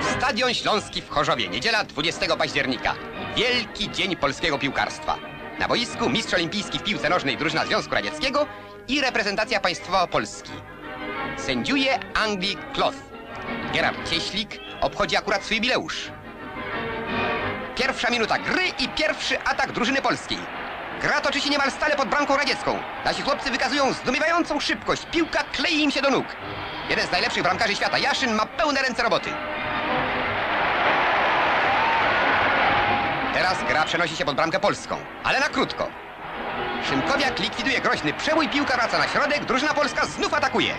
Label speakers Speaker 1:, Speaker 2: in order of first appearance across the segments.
Speaker 1: Stadion Śląski w Chorzowie, niedziela 20 października. Wielki dzień polskiego piłkarstwa. Na boisku mistrz olimpijski w piłce nożnej drużyna Związku Radzieckiego i reprezentacja państwowa Polski. Sędziuje Anglik Kloth. Gerard Cieślik obchodzi akurat swój jubileusz. Pierwsza minuta gry i pierwszy atak drużyny polskiej. Gra toczy się niemal stale pod bramką radziecką. Nasi chłopcy wykazują zdumiewającą szybkość. Piłka klei im się do nóg. Jeden z najlepszych bramkarzy świata, Jaszyn, ma pełne ręce roboty. Teraz gra przenosi się pod bramkę polską, ale na krótko. Szymkowiak likwiduje groźny przebój, piłka wraca na środek, drużyna polska znów atakuje.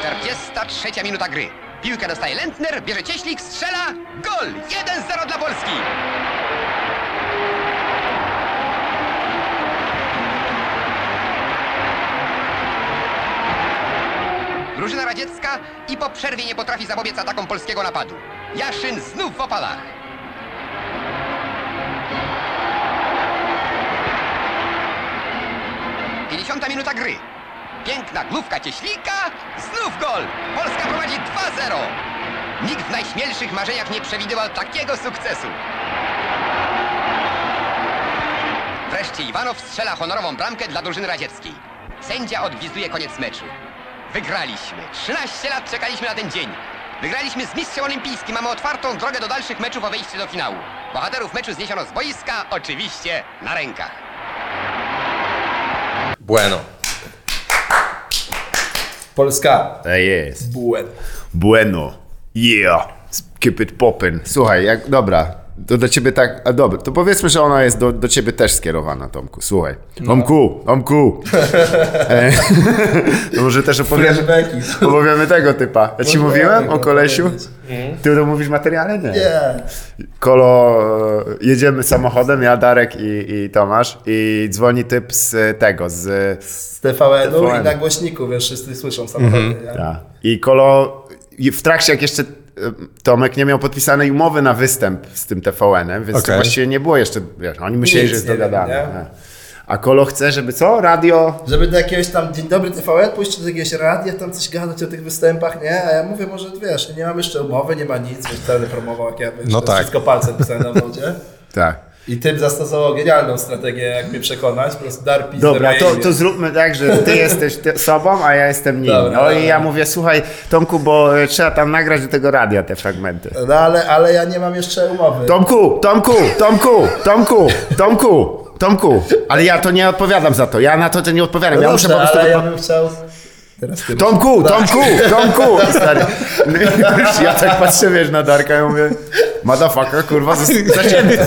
Speaker 1: 43 minuta gry. Piłkę dostaje Lentner, bierze Cieślik, strzela, gol! 1-0 dla Polski! Drużyna radziecka i po przerwie nie potrafi zapobiec atakom polskiego napadu. Jaszyn znów w opalach. Pięćdziesiąta minuta gry. Piękna główka Cieślika, znów gol! Polska prowadzi 2-0. Nikt w najśmielszych marzeniach nie przewidywał takiego sukcesu. Wreszcie Iwanow strzela honorową bramkę dla drużyny radzieckiej. Sędzia odwizduje koniec meczu. Wygraliśmy. 13 lat czekaliśmy na ten dzień. Wygraliśmy z mistrzem olimpijskim. Mamy otwartą drogę do dalszych meczów o wejście do finału. Bohaterów meczu zniesiono z boiska, oczywiście na rękach.
Speaker 2: Bueno. Polska.
Speaker 3: Tak jest.
Speaker 2: Bueno.
Speaker 3: Bueno. Yeah. Keep it poppin. Słuchaj, jak, dobra. To do ciebie tak, a dobra, to powiedzmy, że ona jest do, do ciebie też skierowana, Tomku. Słuchaj. Tomku, Tomku. E, to może też opowiesz,
Speaker 2: Flashbacki.
Speaker 3: opowiemy tego typa. Ja ci mówiłem o kolesiu? Ty to mówisz w materiale? Mhm. Nie.
Speaker 2: Nie.
Speaker 3: Kolo, e, jedziemy samochodem, ja, Darek i, i Tomasz i dzwoni typ z e, tego, z
Speaker 2: Z TVN-u
Speaker 3: TVN.
Speaker 2: no, i na głośniku, wiesz, wszyscy słyszą samochody.
Speaker 4: Mhm.
Speaker 2: nie?
Speaker 3: Ta. I Kolo i w trakcie, jak jeszcze e, Tomek nie miał podpisanej umowy na występ z tym TVN-em, więc to
Speaker 4: Okej.
Speaker 3: właściwie nie było jeszcze, wiesz, oni myśleli,
Speaker 2: Nic
Speaker 3: że jest
Speaker 2: nie wiem,
Speaker 3: dogadane.
Speaker 2: nie?
Speaker 3: nie? A Kolo chce, żeby co? Radio?
Speaker 2: Żeby do jakiegoś tam Dzień Dobry TVN pójść do jakiegoś radia, tam coś gadać o tych występach, nie? A ja mówię, może wiesz, nie mam jeszcze umowy, nie ma nic, wiesz, będę promował, jak ja wiesz,
Speaker 4: No
Speaker 2: to
Speaker 4: tak.
Speaker 2: wszystko palcem pisałem na wodzie.
Speaker 3: Tak.
Speaker 2: I typ zastosował genialną strategię, jak mnie przekonać, po prostu dar pizdę
Speaker 3: Dobra,
Speaker 2: na
Speaker 3: to,
Speaker 2: imię.
Speaker 3: to zróbmy tak, że ty jesteś ty sobą, a ja jestem nim.
Speaker 2: Dobra,
Speaker 3: no i
Speaker 2: dobra.
Speaker 3: ja mówię, słuchaj Tomku, bo e, trzeba tam nagrać do tego radia te fragmenty.
Speaker 2: No ale, ale ja nie mam jeszcze umowy.
Speaker 3: Tomku, Tomku, Tomku, Tomku, Tomku, Tomku. Ale ja to nie odpowiadam za to, ja na to, to nie odpowiadam,
Speaker 2: No
Speaker 3: ja
Speaker 2: dobrze,
Speaker 3: muszę po prostu
Speaker 2: ale ja
Speaker 3: wypo-
Speaker 2: bym chciał... Teraz ty
Speaker 3: Tomku, Tomku, Tomku! I Stary. no i wiesz, Ja tak patrzę, wiesz, na Darka i mówię, motherfucker, kurwa, zas- zacięty.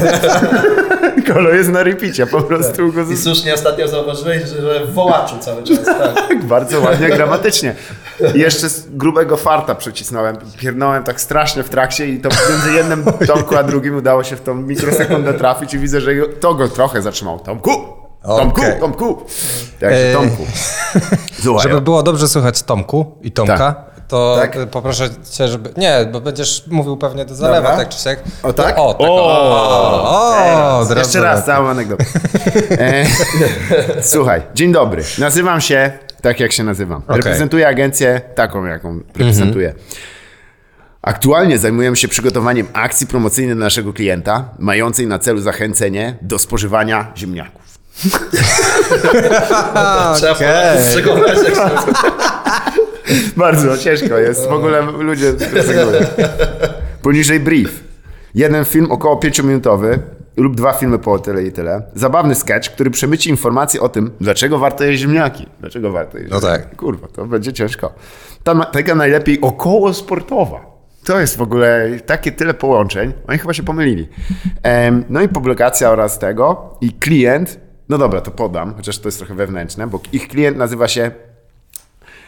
Speaker 3: Kolo jest na repicie, po prostu go
Speaker 2: I
Speaker 3: zas-
Speaker 2: słusznie ostatnio zauważyłeś, że, że w wołaczu cały czas, tak.
Speaker 3: tak bardzo ładnie, gramatycznie. I jeszcze z grubego farta przycisnąłem, piernąłem tak strasznie w trakcie i to między jednym Tomku a drugim udało się w tą mikrosekundę trafić i widzę, że to go trochę zatrzymał. Tomku! Tomku,
Speaker 4: Okej.
Speaker 3: Tomku! Tak,
Speaker 4: Eee,
Speaker 3: Tomku. Słuchaj,
Speaker 4: Żeby było dobrze słychać Tomku i Tomka, to
Speaker 3: Tak.
Speaker 4: y, poproszę cię, żeby... Nie, bo będziesz mówił pewnie do zalewa,
Speaker 2: Dobra.
Speaker 4: tak czy siak.
Speaker 3: O tak?
Speaker 4: O, tak, o, o, o, od
Speaker 3: Jeszcze
Speaker 4: razu
Speaker 3: raz
Speaker 4: tak.
Speaker 3: całą anegdotę. E, słuchaj, dzień dobry. Nazywam się tak, jak się nazywam.
Speaker 4: Okej.
Speaker 3: Reprezentuję agencję taką, jaką reprezentuję. Aktualnie zajmujemy się przygotowaniem akcji promocyjnej dla naszego klienta, mającej na celu zachęcenie do spożywania ziemniaków.
Speaker 2: Trzeba okay. przekonać, jak się
Speaker 3: Bardzo ciężko jest. W ogóle ludzie rezygnują. Poniżej brief. Jeden film około 5-minutowy lub dwa filmy po tyle i tyle. Zabawny sketch, który przemyci informacje o tym, dlaczego warto jeść ziemniaki. Dlaczego warto jeść
Speaker 4: No
Speaker 3: ziemniaki.
Speaker 4: tak.
Speaker 3: Kurwa, to będzie ciężko. Ta taka najlepiej około sportowa. To jest w ogóle takie tyle połączeń. Oni chyba się pomylili. Em, no i publikacja oraz tego. I klient, no dobra, to podam, chociaż to jest trochę wewnętrzne, bo ich klient nazywa się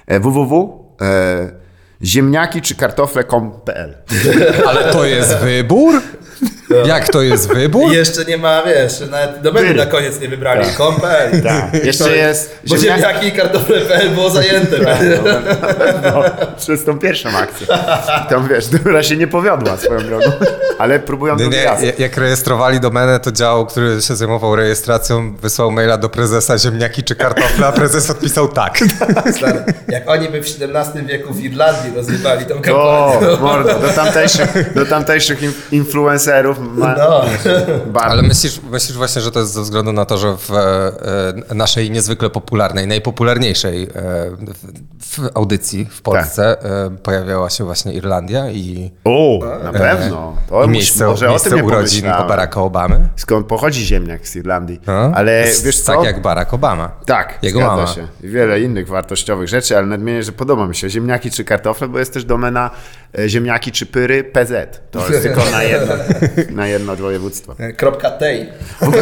Speaker 3: e, www. E, ziemniaki czy kartofle.com.pl
Speaker 4: Ale to jest wybór? Jak to jest wybór?
Speaker 2: I jeszcze nie ma, wiesz, nawet do menu na koniec nie wybrali.
Speaker 3: Tak.
Speaker 2: Kompel.
Speaker 3: Tak. Jeszcze jest
Speaker 2: Bo
Speaker 3: ziemniaki-
Speaker 2: ziemniaki i kartofle.pl było zajęte.
Speaker 3: Tak. No, przez tą pierwszą akcję. Tam wiesz, dobra się nie powiodła swoją drogą, ale próbują
Speaker 4: No Nie,
Speaker 3: drugi
Speaker 4: nie,
Speaker 3: raz.
Speaker 4: ja- jak rejestrowali domenę, to dział, który się zajmował rejestracją, wysłał maila do prezesa ziemniaki czy kartofla, a prezes odpisał tak.
Speaker 2: Stary, jak oni by w XVII wieku w Irlandii rozrywali tą
Speaker 3: O,
Speaker 2: kampanię.
Speaker 3: mordo, do tamtejszych, do tamtejszych in- influencerów ma,
Speaker 2: No.
Speaker 3: bar-
Speaker 4: Ale myślisz, myślisz właśnie, że to jest ze względu na to, że w e, e, naszej niezwykle popularnej, najpopularniejszej e, w, w audycji w Polsce
Speaker 3: Tak.
Speaker 4: e, pojawiała się właśnie Irlandia i,
Speaker 3: O, na pewno. To
Speaker 4: i
Speaker 3: mus-
Speaker 4: E. miejsce,
Speaker 3: może o tym
Speaker 4: miejsce
Speaker 3: nie
Speaker 4: urodzin
Speaker 3: pomyślałem.
Speaker 4: Baracka Obamy.
Speaker 3: Skąd pochodzi ziemniak z Irlandii.
Speaker 4: No?
Speaker 3: Ale
Speaker 4: Jest
Speaker 3: wiesz co?
Speaker 4: Tak jak Barack Obama.
Speaker 3: Tak,
Speaker 4: Jego
Speaker 3: zgadza
Speaker 4: mama.
Speaker 3: się. I Wiele innych wartościowych rzeczy, ale nadmienię, że podoba mi się ziemniaki czy kartofle, bo jest też domena e, ziemniaki czy pyry PZ. To jest tylko na jedno, na jedno województwo.
Speaker 2: Kropka tej.
Speaker 3: Tak,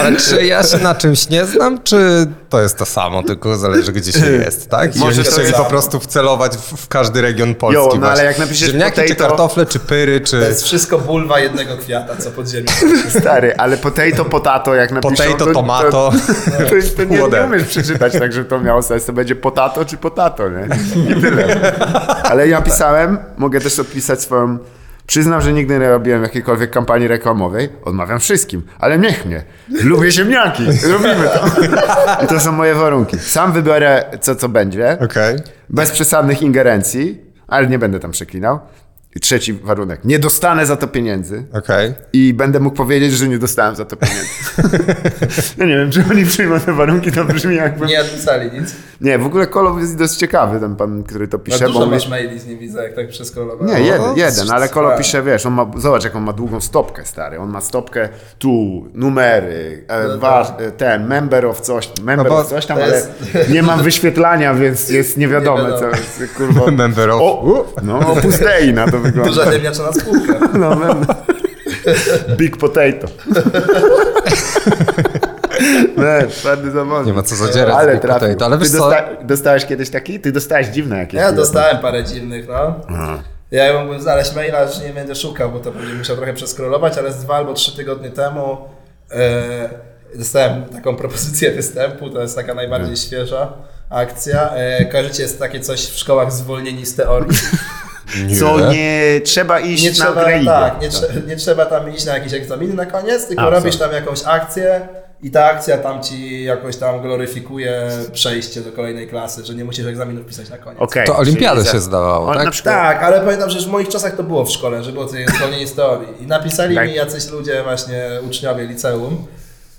Speaker 4: Ale czy ja się na czymś nie znam, czy to jest to samo, tylko zależy gdzie się jest, tak? I
Speaker 3: Może
Speaker 4: Może
Speaker 3: to
Speaker 4: chcieli
Speaker 3: jest-
Speaker 4: po prostu wcelować w, w każdy region Polski
Speaker 3: Jo, no ale
Speaker 4: właśnie.
Speaker 3: jak napiszesz
Speaker 4: Ziemniaki czy
Speaker 3: potato-
Speaker 4: kartofle, czy pyry, czy...
Speaker 2: To jest wszystko bulwa jednego kwiata, co pod ziemią.
Speaker 3: Stary, ale potato, potato, jak napiszą...
Speaker 4: Potato,
Speaker 3: to,
Speaker 4: tomato.
Speaker 3: To, to, to nie, nie
Speaker 4: Whatever.
Speaker 3: umiesz przeczytać tak, żeby to miało sens. To będzie potato czy potato, nie? I tyle. Ale ja pisałem, mogę też odpisać swoją... Przyznam, że nigdy nie robiłem jakiejkolwiek kampanii reklamowej. Odmawiam wszystkim, ale niech mnie. Lubię ziemniaki, robimy to. I to są moje warunki. Sam wybiorę, co co będzie
Speaker 4: Okej.
Speaker 3: bez przesadnych ingerencji, ale nie będę tam przeklinał. I trzeci warunek. Nie dostanę za to pieniędzy
Speaker 4: Okej.
Speaker 3: i będę mógł powiedzieć, że nie dostałem za to pieniędzy. no nie wiem, czy oni przyjmą te warunki, to brzmi jakby... Nie,
Speaker 2: Nie odpisali nic.
Speaker 3: w ogóle Kolow jest dość ciekawy, ten pan, który to
Speaker 2: No
Speaker 3: pisze.
Speaker 2: dużo
Speaker 3: on
Speaker 2: masz
Speaker 3: jest-
Speaker 2: maili z nim widzę, jak tak przeskrolowałem.
Speaker 3: nie,
Speaker 4: O,
Speaker 3: jeden, jeden, ale Kolo
Speaker 2: tak.
Speaker 3: pisze, wiesz, on ma, zobacz jak on ma długą stopkę, stary. On ma stopkę tu, numery, e, wa, e, ten, member of coś, member
Speaker 4: No bo
Speaker 3: of coś tam,
Speaker 2: No, to
Speaker 3: ale
Speaker 2: jest-
Speaker 3: nie mam wyświetlania, więc jest niewiadome,
Speaker 2: Nie
Speaker 3: co
Speaker 2: wiadomo.
Speaker 3: jest, kurwa.
Speaker 4: Member of-
Speaker 3: O, u, no, opus Dei na to wygląda.
Speaker 2: Duża ziemniaczana spółka.
Speaker 3: No, mem- Big potato. Man, twardy zawodnik.
Speaker 4: Nie ma co zadzierać z
Speaker 3: Ale
Speaker 4: Big
Speaker 3: trafił.
Speaker 4: Potato, ale wiesz
Speaker 3: Ty
Speaker 4: co?
Speaker 3: dosta- dostałeś kiedyś taki? Ty dostałeś dziwne jakieś.
Speaker 2: Ja dostałem parę dziwnych, no. Ja mógłbym znaleźć maila, że nie będę szukał, bo to będzie musiał trochę przeskrolować, ale z dwa albo trzy tygodnie temu e, dostałem taką propozycję występu, to jest taka najbardziej świeża akcja. E, kojarzycie, jest takie coś w szkołach zwolnieni z teorii.
Speaker 3: Co nie trzeba iść
Speaker 2: Nie
Speaker 3: na
Speaker 2: trzeba,
Speaker 3: Ukrainę.
Speaker 2: tak, nie, trze- nie trzeba tam iść na jakieś egzaminy na koniec, tylko
Speaker 3: A,
Speaker 2: robisz
Speaker 3: co?
Speaker 2: tam jakąś akcję i ta akcja tam ci jakoś tam gloryfikuje przejście do kolejnej klasy, że nie musisz egzaminów pisać na koniec.
Speaker 3: Tak. Okej,
Speaker 4: To olimpiadę
Speaker 3: czyli za-
Speaker 4: się zdawało,
Speaker 3: O,
Speaker 4: tak?
Speaker 3: Na przykład,
Speaker 2: Tak, ale pamiętam, że już w moich czasach to było w szkole, że było to zwolnienie z teorii. I napisali
Speaker 3: Tak.
Speaker 2: mi jacyś ludzie, właśnie uczniowie liceum,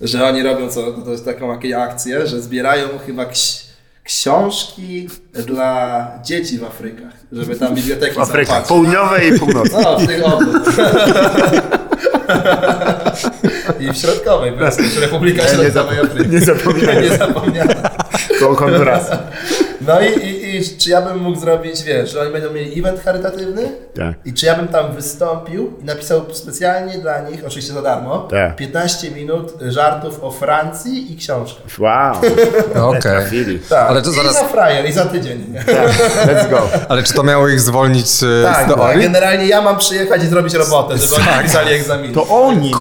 Speaker 2: że oni robią co, to jest taką jakieś akcję, że zbierają chyba ksi- książki dla dzieci w Afrykach, żeby tam biblioteki
Speaker 3: Afryka,
Speaker 2: zaopatrzyć.
Speaker 3: południowej i północnej.
Speaker 2: No, w tych obu. I w środkowej, po prostu, w Republika
Speaker 3: Ja nie,
Speaker 2: Środkowej
Speaker 3: zap-
Speaker 2: Afryki.
Speaker 3: nie zapominaj,
Speaker 2: Nie zapomniałem.
Speaker 3: koło Hondurasu.
Speaker 2: No i, i, i czy ja bym mógł zrobić, wiesz, że oni będą mieli event charytatywny?
Speaker 3: Tak.
Speaker 2: I czy ja bym tam wystąpił i napisał specjalnie dla nich, oczywiście za darmo,
Speaker 3: Tak.
Speaker 2: 15 minut żartów o Francji i książkę.
Speaker 3: Wow,
Speaker 4: No, Okej.
Speaker 3: trafili.
Speaker 2: Tak.
Speaker 4: Ale to
Speaker 2: I
Speaker 4: zaraz-
Speaker 2: za frajer, i za tydzień.
Speaker 3: Tak, let's go.
Speaker 4: Ale czy to miało ich zwolnić e,
Speaker 2: Tak, tak,
Speaker 4: z teorii?
Speaker 2: generalnie ja mam przyjechać i zrobić robotę, żeby
Speaker 4: Tak.
Speaker 2: oni pisali egzamin.
Speaker 3: To oni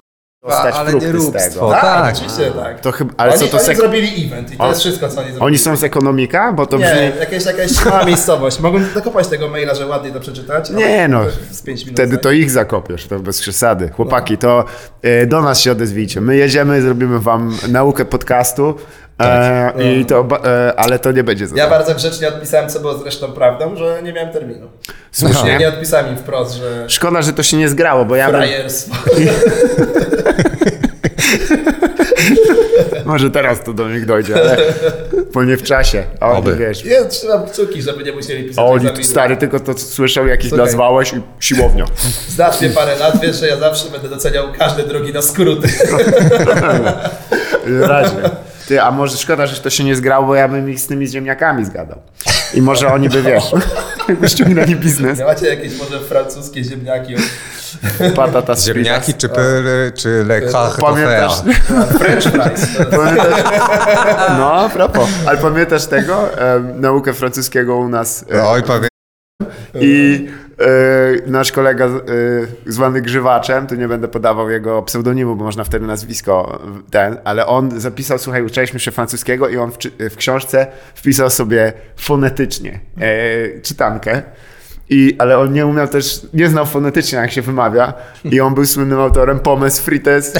Speaker 3: dostać
Speaker 4: ale nie
Speaker 3: frukty z
Speaker 4: róbstwo.
Speaker 2: tak,
Speaker 3: tego.
Speaker 4: tak.
Speaker 2: oczywiście tak.
Speaker 3: To chyba- ale
Speaker 2: oni,
Speaker 3: co to
Speaker 2: oni
Speaker 3: sek-
Speaker 2: zrobili event i to
Speaker 3: On-
Speaker 2: jest wszystko, co oni zrobili.
Speaker 3: Oni są z ekonomika? Bo to
Speaker 2: Nie,
Speaker 3: brzmi...
Speaker 2: jakaś, jakaś mała miejscowość. Mogłem dokopać tego maila, że ładnie to przeczytać. ale
Speaker 3: Nie no,
Speaker 2: Z 5 minut. tak?
Speaker 3: wtedy to ich zakopiesz, to bez przesady. Chłopaki, to e, do nas się odezwijcie. My jedziemy, zrobimy wam naukę podcastu, e, i to, ba- e, ale to nie będzie
Speaker 2: Tak. No. Ja
Speaker 3: za
Speaker 2: bardzo grzecznie odpisałem, co było zresztą prawdą, że nie miałem terminu. Nie, nie
Speaker 3: Słusznie.
Speaker 2: odpisałem im wprost, że
Speaker 3: No. Szkoda, że to się nie zgrało, bo ja bym...
Speaker 2: frajers.
Speaker 3: Może teraz to do nich dojdzie, ale bo nie w czasie. A Oni,
Speaker 4: Oby.
Speaker 3: wiesz,
Speaker 2: Ja trzymam kciuki, żeby nie musieli pisać
Speaker 3: a oni
Speaker 2: egzaminu.
Speaker 3: stary tylko to słyszał, jakiś
Speaker 2: Słuchaj.
Speaker 3: nazwałeś i siłownia.
Speaker 2: Znasz mnie parę lat, wiesz, że ja zawsze będę doceniał każde drogi na skróty.
Speaker 3: Wyraźnie. Ty, a może szkoda, że to się nie zgrało, bo ja bym ich z tymi ziemniakami zgadał. I może oni by, wiesz, jakby ściągnęli biznes.
Speaker 2: Nie macie jakieś może francuskie ziemniaki? No.
Speaker 3: Patata z
Speaker 4: Ziemniaki czy pyry, czy lekach
Speaker 3: Pamiętasz?
Speaker 2: French fries.
Speaker 3: Pamiętasz? No, a propos. Ale pamiętasz tego? Em, naukę francuskiego u nas. e,
Speaker 4: Oj, pamiętam.
Speaker 3: I e, nasz kolega e, zwany Grzywaczem, tu nie będę podawał jego pseudonimu, bo można wtedy nazwisko w- ten, ale on zapisał, słuchaj, uczyliśmy się francuskiego i on w, czy- w książce wpisał sobie fonetycznie e, czytankę. I, ale on nie umiał też, nie znał fonetycznie, jak się wymawia. I on był słynnym autorem Pommes Frites.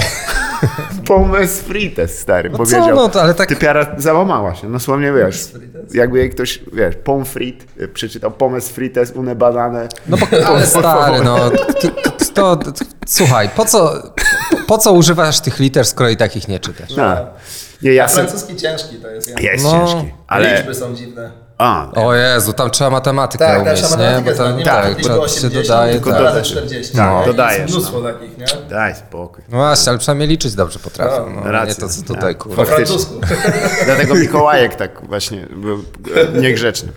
Speaker 3: Pommes Frites, stary,
Speaker 4: No co,
Speaker 3: powiedział.
Speaker 4: no to ale tak-
Speaker 3: Typiara załamała się, no słownie wiesz. Jakby jej ktoś, wiesz, pommes frites, y, przeczytał pommes frites, une banane.
Speaker 4: No bo, ale stary, no. To, to, to, słuchaj, po co, po, po co używasz tych liter, skoro i takich nie czytasz?
Speaker 3: No. Nie, ja se-
Speaker 2: Francuski ciężki to jest. Ja.
Speaker 3: Jest
Speaker 4: No.
Speaker 3: ciężki, ale...
Speaker 2: Liczby są dziwne.
Speaker 3: A,
Speaker 4: O Jezu, tam trzeba matematykę
Speaker 2: Tak,
Speaker 4: umieć,
Speaker 2: tak, trzeba
Speaker 4: nie?
Speaker 2: matematykę znać. Nie ma
Speaker 4: tak,
Speaker 2: takiego
Speaker 4: trzeba się
Speaker 2: 80,
Speaker 4: dodaje,
Speaker 2: tylko
Speaker 4: tak.
Speaker 2: razy 40.
Speaker 3: Tak,
Speaker 2: nie? I
Speaker 3: dodajesz,
Speaker 2: Jest mnóstwo takich, nie?
Speaker 3: daj spokój.
Speaker 4: No właśnie, ale przynajmniej liczyć dobrze potrafią. No,
Speaker 3: Racja,
Speaker 4: nie to, co tutaj,
Speaker 3: tak.
Speaker 4: kurwa.
Speaker 2: Po
Speaker 3: Faktycznie.
Speaker 2: francusku.
Speaker 3: Dlatego Mikołajek tak właśnie był e, niegrzeczny.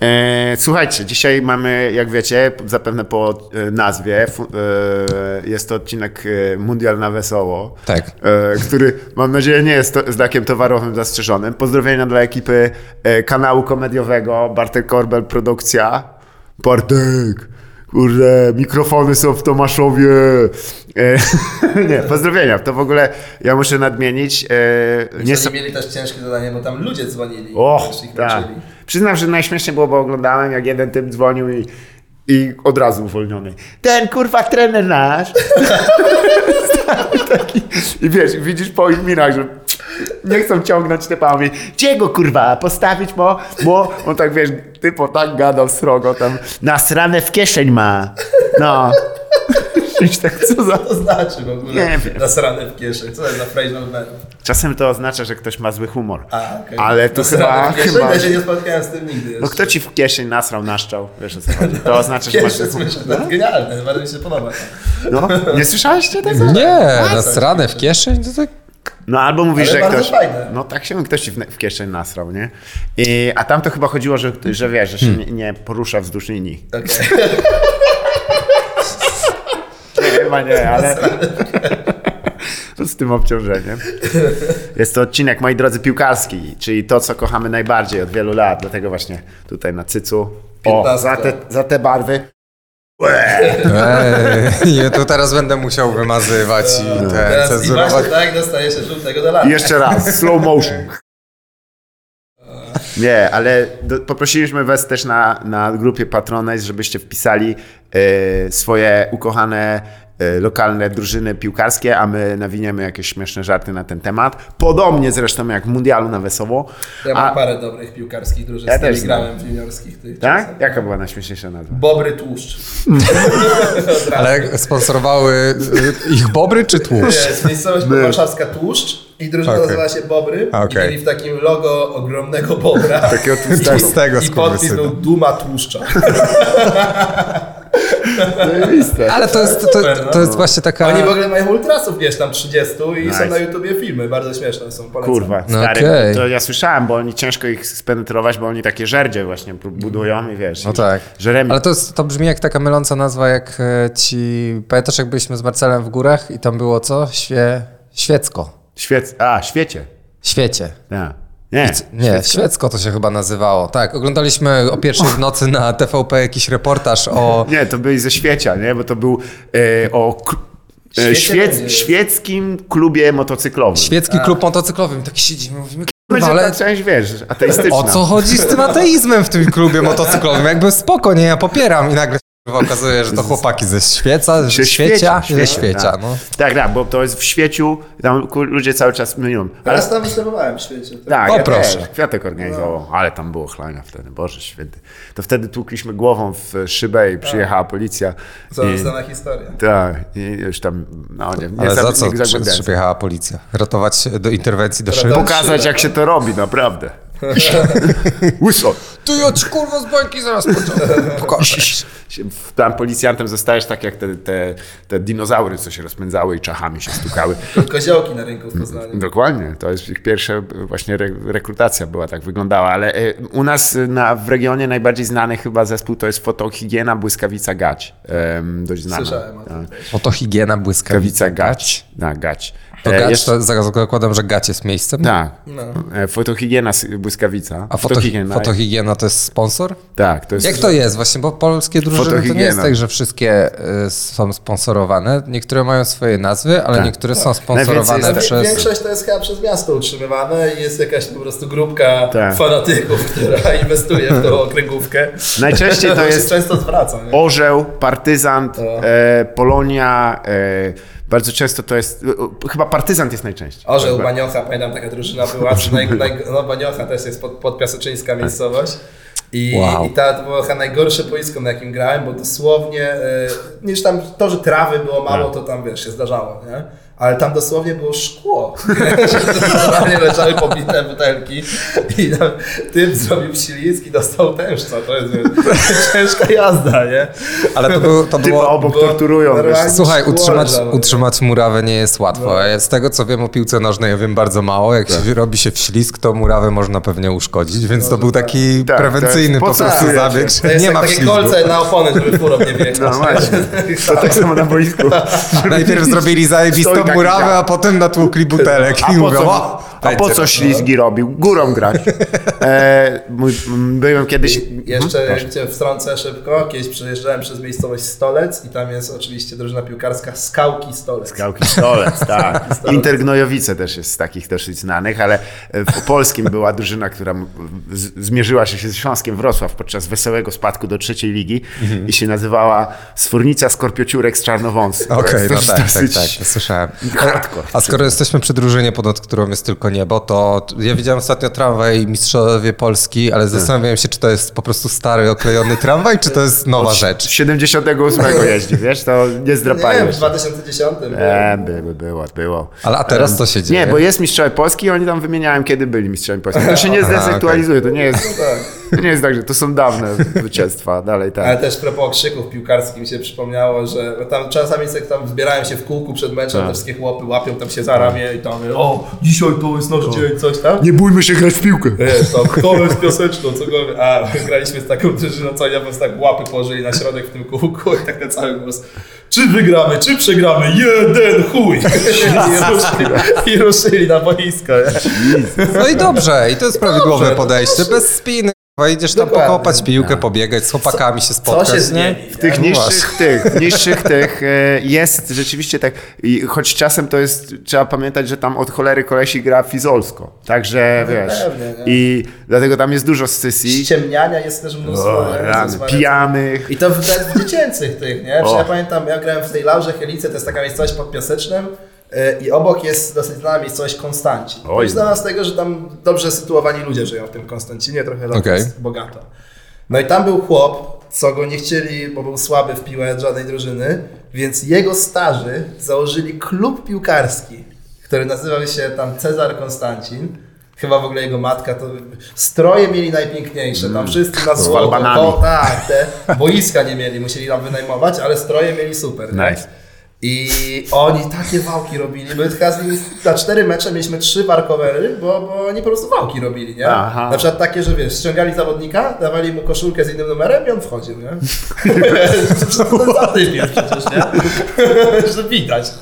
Speaker 3: E, słuchajcie, dzisiaj mamy, jak wiecie, zapewne po e, nazwie, fu- e, jest to odcinek e, Mundial na Wesoło,
Speaker 4: Tak.
Speaker 3: e, który mam nadzieję nie jest to, znakiem towarowym zastrzeżonym. Pozdrowienia dla ekipy e, kanału komediowego Bartek Korbel Produkcja. Bartek! Kurde, mikrofony są w Tomaszowie. E, nie, pozdrowienia. To w ogóle ja muszę nadmienić. E,
Speaker 2: Nie
Speaker 3: nies-
Speaker 2: mieli też ciężkie zadanie, bo tam ludzie dzwonili.
Speaker 3: Och,
Speaker 2: też ich
Speaker 3: tak.
Speaker 2: męczyli.
Speaker 3: Przyznam, że najśmieszniej było, bo oglądałem, jak jeden typ dzwonił i, i od razu uwolniony. Ten kurwa trener nasz. Taki, I wiesz, widzisz po ich minach, że nie chcą ciągnąć typami. Gdzie go kurwa postawić, bo, bo on tak wiesz, typo tak gadał srogo tam. Nasrane w kieszeń ma. No. Czyś tak, co za...
Speaker 2: To znaczy w ogóle
Speaker 3: Nie wiem.
Speaker 2: nasrane w kieszeń. Co to jest za phrasal verb?
Speaker 3: Czasem to oznacza, że ktoś ma zły humor.
Speaker 2: A, okej.
Speaker 3: Ale to
Speaker 2: Nasrane
Speaker 3: chyba...
Speaker 2: w kieszeń?
Speaker 3: chyba...
Speaker 2: Ja się nie spotkałem z tym nigdy
Speaker 3: No kto ci w kieszeń nasrał, naszczał, wiesz o co chodzi. To No? oznacza, że masz...
Speaker 2: Pierwszy słyszę, to jest genialne, bardzo mi się podoba.
Speaker 3: No, nie słyszałeś tego?
Speaker 4: Nie, nasrane w kieszeń, to tak...
Speaker 3: No albo mówisz,
Speaker 2: Ale
Speaker 3: że
Speaker 2: bardzo
Speaker 3: ktoś...
Speaker 2: fajne.
Speaker 3: No tak się ktoś ci w, w kieszeń nasrał, nie? I, a tam to chyba chodziło, że, że wiesz, że się nie, nie porusza wzdłuż linii.
Speaker 2: Okej.
Speaker 3: Nie, chyba nie, ale... Z tym obciążeniem. Jest to odcinek, moi drodzy, piłkarski, czyli to, co kochamy najbardziej od wielu lat. Dlatego właśnie tutaj na cycu. O, za te, za te barwy.
Speaker 4: Ej, ja to teraz będę musiał wymazywać i te,
Speaker 2: Tak. Teraz i
Speaker 4: cenzurować.
Speaker 2: właśnie tak dostaje się żółtego dolara.
Speaker 3: I Jeszcze raz, slow motion. Nie, ale do, poprosiliśmy Was też na, na grupie Patronite, żebyście wpisali e, swoje ukochane e, lokalne drużyny piłkarskie, a my nawiniemy jakieś śmieszne żarty na ten temat. Podobnie zresztą jak w Mundialu na Wesoło.
Speaker 2: Ja mam
Speaker 3: A,
Speaker 2: parę dobrych piłkarskich drużyn,
Speaker 3: Ja
Speaker 2: z którymi
Speaker 3: też znam.
Speaker 2: grałem w juniorskich tych
Speaker 3: tak?
Speaker 2: czasach.
Speaker 3: Jaka była najśmieszniejsza nazwa?
Speaker 2: Bobry tłuszcz. Od razu.
Speaker 4: Ale sponsorowały y, ich bobry czy tłuszcz?
Speaker 2: Jest miejscowość warszawska Tłuszcz i drużyna
Speaker 4: Okej.
Speaker 2: nazywała się Bobry
Speaker 4: Okej.
Speaker 2: i mieli w takim logo ogromnego bobra.
Speaker 3: Takiego
Speaker 2: I-
Speaker 4: tłustego
Speaker 2: I podpis
Speaker 4: skurwysyna.
Speaker 2: był Duma Tłuszcza.
Speaker 3: Zajebiste.
Speaker 4: Ale to jest, to,
Speaker 2: Super, no.
Speaker 4: to jest właśnie taka...
Speaker 2: Oni w ogóle mają ultrasów, wiesz, tam 30 i
Speaker 3: Tak. Nice.
Speaker 2: są na YouTubie filmy, bardzo śmieszne są, polecam.
Speaker 3: Kurwa,
Speaker 4: No
Speaker 3: stary,
Speaker 4: okej.
Speaker 3: to ja słyszałem, bo oni ciężko ich spenetrować, bo oni takie żerdzie właśnie prób- budują i wiesz.
Speaker 4: No
Speaker 3: i
Speaker 4: tak.
Speaker 3: Żeremi.
Speaker 4: Ale to, jest, to brzmi jak taka myląca nazwa, jak e, ci... Pamiętasz, jak byliśmy z Marcelem w górach i tam było co? Świe... Świecko.
Speaker 3: Świec... A, świecie.
Speaker 4: Świecie.
Speaker 3: Tak. Nie.
Speaker 4: Nie, Świecko to się chyba nazywało. Tak, oglądaliśmy o pierwszej w nocy na TVP jakiś reportaż o...
Speaker 3: Nie, to byli ze świecia, nie? Bo to był e, o k- e,
Speaker 2: Świecie
Speaker 3: świec,
Speaker 2: będzie.
Speaker 3: świeckim klubie motocyklowym.
Speaker 4: Świecki klub motocyklowy. My tak siedzimy, mówimy,
Speaker 3: Będzie
Speaker 4: kurwa, ale
Speaker 3: ta część, wiesz, ateistyczna.
Speaker 4: o co chodzi z tym ateizmem w tym klubie motocyklowym? Jakby spoko, nie, ja popieram. I nagle się kurwa okazuje, że to chłopaki ze świeca,
Speaker 3: Się
Speaker 4: ze świecia,
Speaker 3: świeci,
Speaker 4: ze
Speaker 3: świeci,
Speaker 4: świecia,
Speaker 3: tak.
Speaker 4: no.
Speaker 3: Tak, tak, bo to jest w świeciu, tam ku- ludzie cały czas mylią. Ale
Speaker 2: Teraz tam występowałem w świecie. tak.
Speaker 3: tak,
Speaker 4: O,
Speaker 3: ja
Speaker 4: proszę. No.
Speaker 3: Też, kwiatek organizował, ale tam było chlania wtedy, Boże święty. To wtedy tłukliśmy głową w szybę i przyjechała policja.
Speaker 4: Tak.
Speaker 2: Co
Speaker 3: I,
Speaker 2: znana historia.
Speaker 3: tak, i już tam, no nie, nie,
Speaker 4: Ale
Speaker 3: za,
Speaker 4: za
Speaker 3: nie
Speaker 4: co przy-
Speaker 3: zagłębiałem.
Speaker 4: przyjechała policja? Ratować się do interwencji do szyby?
Speaker 2: Ratować-
Speaker 3: Pokazać, jak się to robi, naprawdę. Łyso.
Speaker 4: Ty ja ci kurwa z bańki zaraz pociągnę. Pokażę.
Speaker 3: Się- w- Tam policjantem zostajesz tak jak te, te, te dinozaury, co się rozpędzały i czachami się stukały.
Speaker 2: Koziołki na rynku w Poznaniu.
Speaker 3: Dokładnie, to jest ich pierwsza e, właśnie re, rekrutacja była, tak wyglądała, ale e, u nas e, na, w regionie najbardziej znany chyba zespół to jest Fotohigiena Błyskawica Gać, Em, dość znany.
Speaker 2: Słyszałem o tym.
Speaker 4: Oto higiena błyskawica.
Speaker 3: Błyskawica Gać, na Gać.
Speaker 4: To
Speaker 3: E,
Speaker 4: gacz,
Speaker 3: jeszcze-
Speaker 4: to zaraz zakładam, że gać jest miejscem.
Speaker 3: Tak.
Speaker 2: No.
Speaker 3: E, Fotohigiena z błyskawica.
Speaker 4: A foto, fotohigiena to jest sponsor?
Speaker 3: Tak, to jest.
Speaker 4: Jak to jest właśnie, bo polskie drużyny to nie
Speaker 3: Fotohigiena.
Speaker 4: jest tak, że wszystkie y, są sponsorowane. Niektóre mają swoje nazwy, ale
Speaker 3: Tak.
Speaker 4: niektóre są
Speaker 3: Najwięcej
Speaker 4: sponsorowane
Speaker 3: jest- tak-
Speaker 2: Przez...
Speaker 4: przez...
Speaker 2: Większość to jest chyba przez miasto utrzymywane i jest jakaś po prostu grupka
Speaker 3: Tak.
Speaker 2: fanatyków, która inwestuje w tą okręgówkę.
Speaker 3: Najczęściej to
Speaker 2: się
Speaker 3: jest
Speaker 2: często zwraca. nie?
Speaker 3: Orzeł, Partyzant, e, Polonia. E, bardzo często to jest. e, Chyba Partyzant jest najczęściej.
Speaker 2: Orzeł
Speaker 4: Tak,
Speaker 2: Baniocha, pamiętam taka drużyna była, czy naj, naj, no Baniocha też jest pod, podpiaseczyńska miejscowość. I,
Speaker 4: Tak. Wow.
Speaker 2: I ta to było chyba najgorsze boisko, na jakim grałem, bo dosłownie, e, niż tam to, że trawy było mało,
Speaker 4: Tak.
Speaker 2: to tam wiesz, się zdarzało, nie? Ale tam dosłownie było szkło. Normalnie leżały pobite butelki i tam typ zrobił ślizg i dostał tężca. To jest wiesz, ciężka jazda, nie?
Speaker 4: Ale to, był, to
Speaker 3: Typa
Speaker 4: było...
Speaker 3: obok
Speaker 2: było-
Speaker 3: torturują. Wiesz.
Speaker 2: normalnie
Speaker 4: Słuchaj,
Speaker 2: szkło
Speaker 4: utrzymać,
Speaker 2: leżało, nie?
Speaker 4: utrzymać murawę nie jest
Speaker 3: No.
Speaker 4: łatwo. Z tego, co wiem o piłce nożnej, ja wiem bardzo mało. Jak
Speaker 3: Tak.
Speaker 4: się robi się wślizg, to murawę można pewnie uszkodzić, więc to był taki
Speaker 3: Tak,
Speaker 4: prewencyjny
Speaker 3: tak.
Speaker 4: po prostu
Speaker 3: Podsumujecie.
Speaker 4: zabieg,
Speaker 2: To
Speaker 4: że
Speaker 2: jest
Speaker 4: nie
Speaker 2: tak,
Speaker 4: ma
Speaker 2: takie
Speaker 4: wślizgu.
Speaker 2: kolce na opony, żeby furą nie wjechać.
Speaker 3: No właśnie. To tak samo na boisku.
Speaker 4: Najpierw zrobili
Speaker 3: Stoi
Speaker 4: zajebistą
Speaker 3: taki
Speaker 4: murawę,
Speaker 3: dziad.
Speaker 4: a potem natłukli butelek
Speaker 3: A
Speaker 4: i
Speaker 3: po
Speaker 4: mówią,
Speaker 3: co,
Speaker 4: o, tak, no."
Speaker 3: a po co ślizgi robił? Górą grać. E, mój, m, byłem kiedyś.
Speaker 2: Jeszcze
Speaker 3: Mhm.
Speaker 2: cię wtrącę szybko. Kiedyś przejeżdżałem przez miejscowość Stolec i tam jest oczywiście drużyna piłkarska Skałki Stolec.
Speaker 3: Gałki Stolec, tak. Intergnojowice też jest z takich dosyć znanych, ale e, w polskim była drużyna, która m- z- zmierzyła się ze Śląskiem Wrocław podczas wesołego spadku do trzeciej ligi
Speaker 4: Mhm.
Speaker 3: i się nazywała Sfornica Skorpiociurek z Czarnowąsy. To
Speaker 4: Okej,
Speaker 3: jest
Speaker 4: no
Speaker 3: też
Speaker 4: tak, tak,
Speaker 3: dosyć-
Speaker 4: tak, słyszałem.
Speaker 3: hardcore.
Speaker 4: A skoro jesteśmy przy drużynie, pod którą jest tylko niebo, to ja widziałem ostatnio tramwaj Mistrzowie Polski, ale zastanawiałem się, czy to jest po prostu stary, oklejony tramwaj, czy to jest nowa
Speaker 3: Z
Speaker 4: rzecz.
Speaker 3: 78 jeździ, wiesz, to nie
Speaker 2: Nie wiem,
Speaker 3: zdrapałem
Speaker 2: w
Speaker 3: się.
Speaker 2: 2010.
Speaker 3: E, by, było, było. E,
Speaker 4: Ale a teraz co się dzieje?
Speaker 3: Nie, bo jest Mistrzowie Polski i oni tam wymieniałem, kiedy byli Mistrzami Polski. To się nie
Speaker 4: okej.
Speaker 3: zdezaktualizuje, to nie jest,
Speaker 2: Tak.
Speaker 3: to nie jest tak, że to są dawne zwycięstwa, dalej tak.
Speaker 2: Ale też propos okrzyków piłkarskich mi się przypomniało, że bo tam czasami jak tam zbierałem się w kółku przed meczem, te wszystkie chłopy łapią tam się za ramię i tam o, dzisiaj to jest nasz dzień, coś tam.
Speaker 3: Nie bójmy się grać w piłkę.
Speaker 2: Wiesz, to kto z pioseczką, cokolwiek. A graliśmy z taką drużyną, co oni po prostu tak łapy położyli na środek w tym kółku i tak na cały głos. Czy wygramy, czy przegramy? Jeden chuj! I ruszyli, i ruszyli na boisko. nie?
Speaker 4: No i dobrze, i to jest prawidłowe
Speaker 2: Dobrze, to
Speaker 4: podejście, bez spiny. kurwa, Idziesz tam
Speaker 2: Dokładnie.
Speaker 4: pokopać piłkę, pobiegać, z chłopakami się
Speaker 2: Co
Speaker 4: spotkać.
Speaker 2: się
Speaker 4: nie?
Speaker 2: zmieni?
Speaker 3: W tych
Speaker 4: No
Speaker 3: niższych tych, niższych tych e, jest rzeczywiście tak, i choć czasem to jest, trzeba pamiętać, że tam od cholery kolesi gra fizolsko, także wiesz,
Speaker 2: pewnie, nie?
Speaker 3: i dlatego tam jest dużo scysji,
Speaker 2: Ściemniania jest też mnóstwo.
Speaker 3: o,
Speaker 2: nie?
Speaker 3: rany,
Speaker 2: Zezwalenia.
Speaker 3: pijanych,
Speaker 2: I to w, nawet w dziecięcych tych, nie? Czy
Speaker 3: O.
Speaker 2: ja pamiętam, ja grałem w tej Laurze Chelice, to jest taka miejscowość pod Piasecznem y, i obok jest dosyć znana miejscowość Konstancin.
Speaker 3: Oj.
Speaker 2: Oj. Znana z tego, że tam dobrze sytuowani ludzie żyją w tym Konstancinie, trochę lat
Speaker 4: Okej.
Speaker 2: jest bogato. No i tam był chłop, co go nie chcieli, bo był słaby w piłę żadnej drużyny, więc jego starzy założyli klub piłkarski, który nazywał się tam Cezar Konstancin. Chyba w ogóle jego matka, to stroje mieli najpiękniejsze,
Speaker 3: Mm.
Speaker 2: tam wszyscy na złoto,
Speaker 3: Albanami.
Speaker 2: to- tak, te boiska nie mieli, musieli nam wynajmować, ale stroje mieli super. nie?
Speaker 3: Nice.
Speaker 2: I oni takie wałki robili. My chyba z nimi za cztery mecze mieliśmy trzy parkowery, bo, bo oni po prostu wałki robili, nie?
Speaker 3: Aha.
Speaker 2: Na przykład takie, że wiesz, ściągali zawodnika, dawali mu koszulkę z innym numerem i on wchodził, nie? Zatypił przecież, nie? że widać.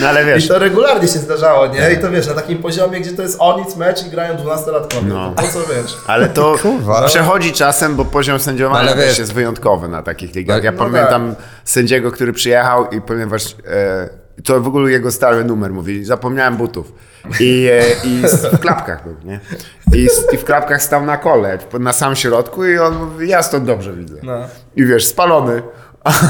Speaker 3: no ale
Speaker 2: I
Speaker 3: wiesz,
Speaker 2: to regularnie się zdarzało, nie?
Speaker 3: Tak.
Speaker 2: I to wiesz, na takim poziomie, gdzie to jest onic mecz i grają 12-latkowie.
Speaker 3: No.
Speaker 2: No. To co wiesz?
Speaker 3: ale to
Speaker 4: Kurwa.
Speaker 3: przechodzi czasem, bo poziom sędziowania
Speaker 4: No, ale
Speaker 3: też
Speaker 4: wiesz-
Speaker 3: jest wyjątkowy na takich ligach. Ja
Speaker 2: No
Speaker 3: pamiętam sędziego, który przyjechał i ponieważ e, to w ogóle jego stary numer mówi, zapomniałem butów. I, e, i s- w klapkach był, nie? I, s- I w klapkach stał na kole, na sam środku i on mówi, ja stąd dobrze widzę.
Speaker 2: No.
Speaker 3: I wiesz, spalony.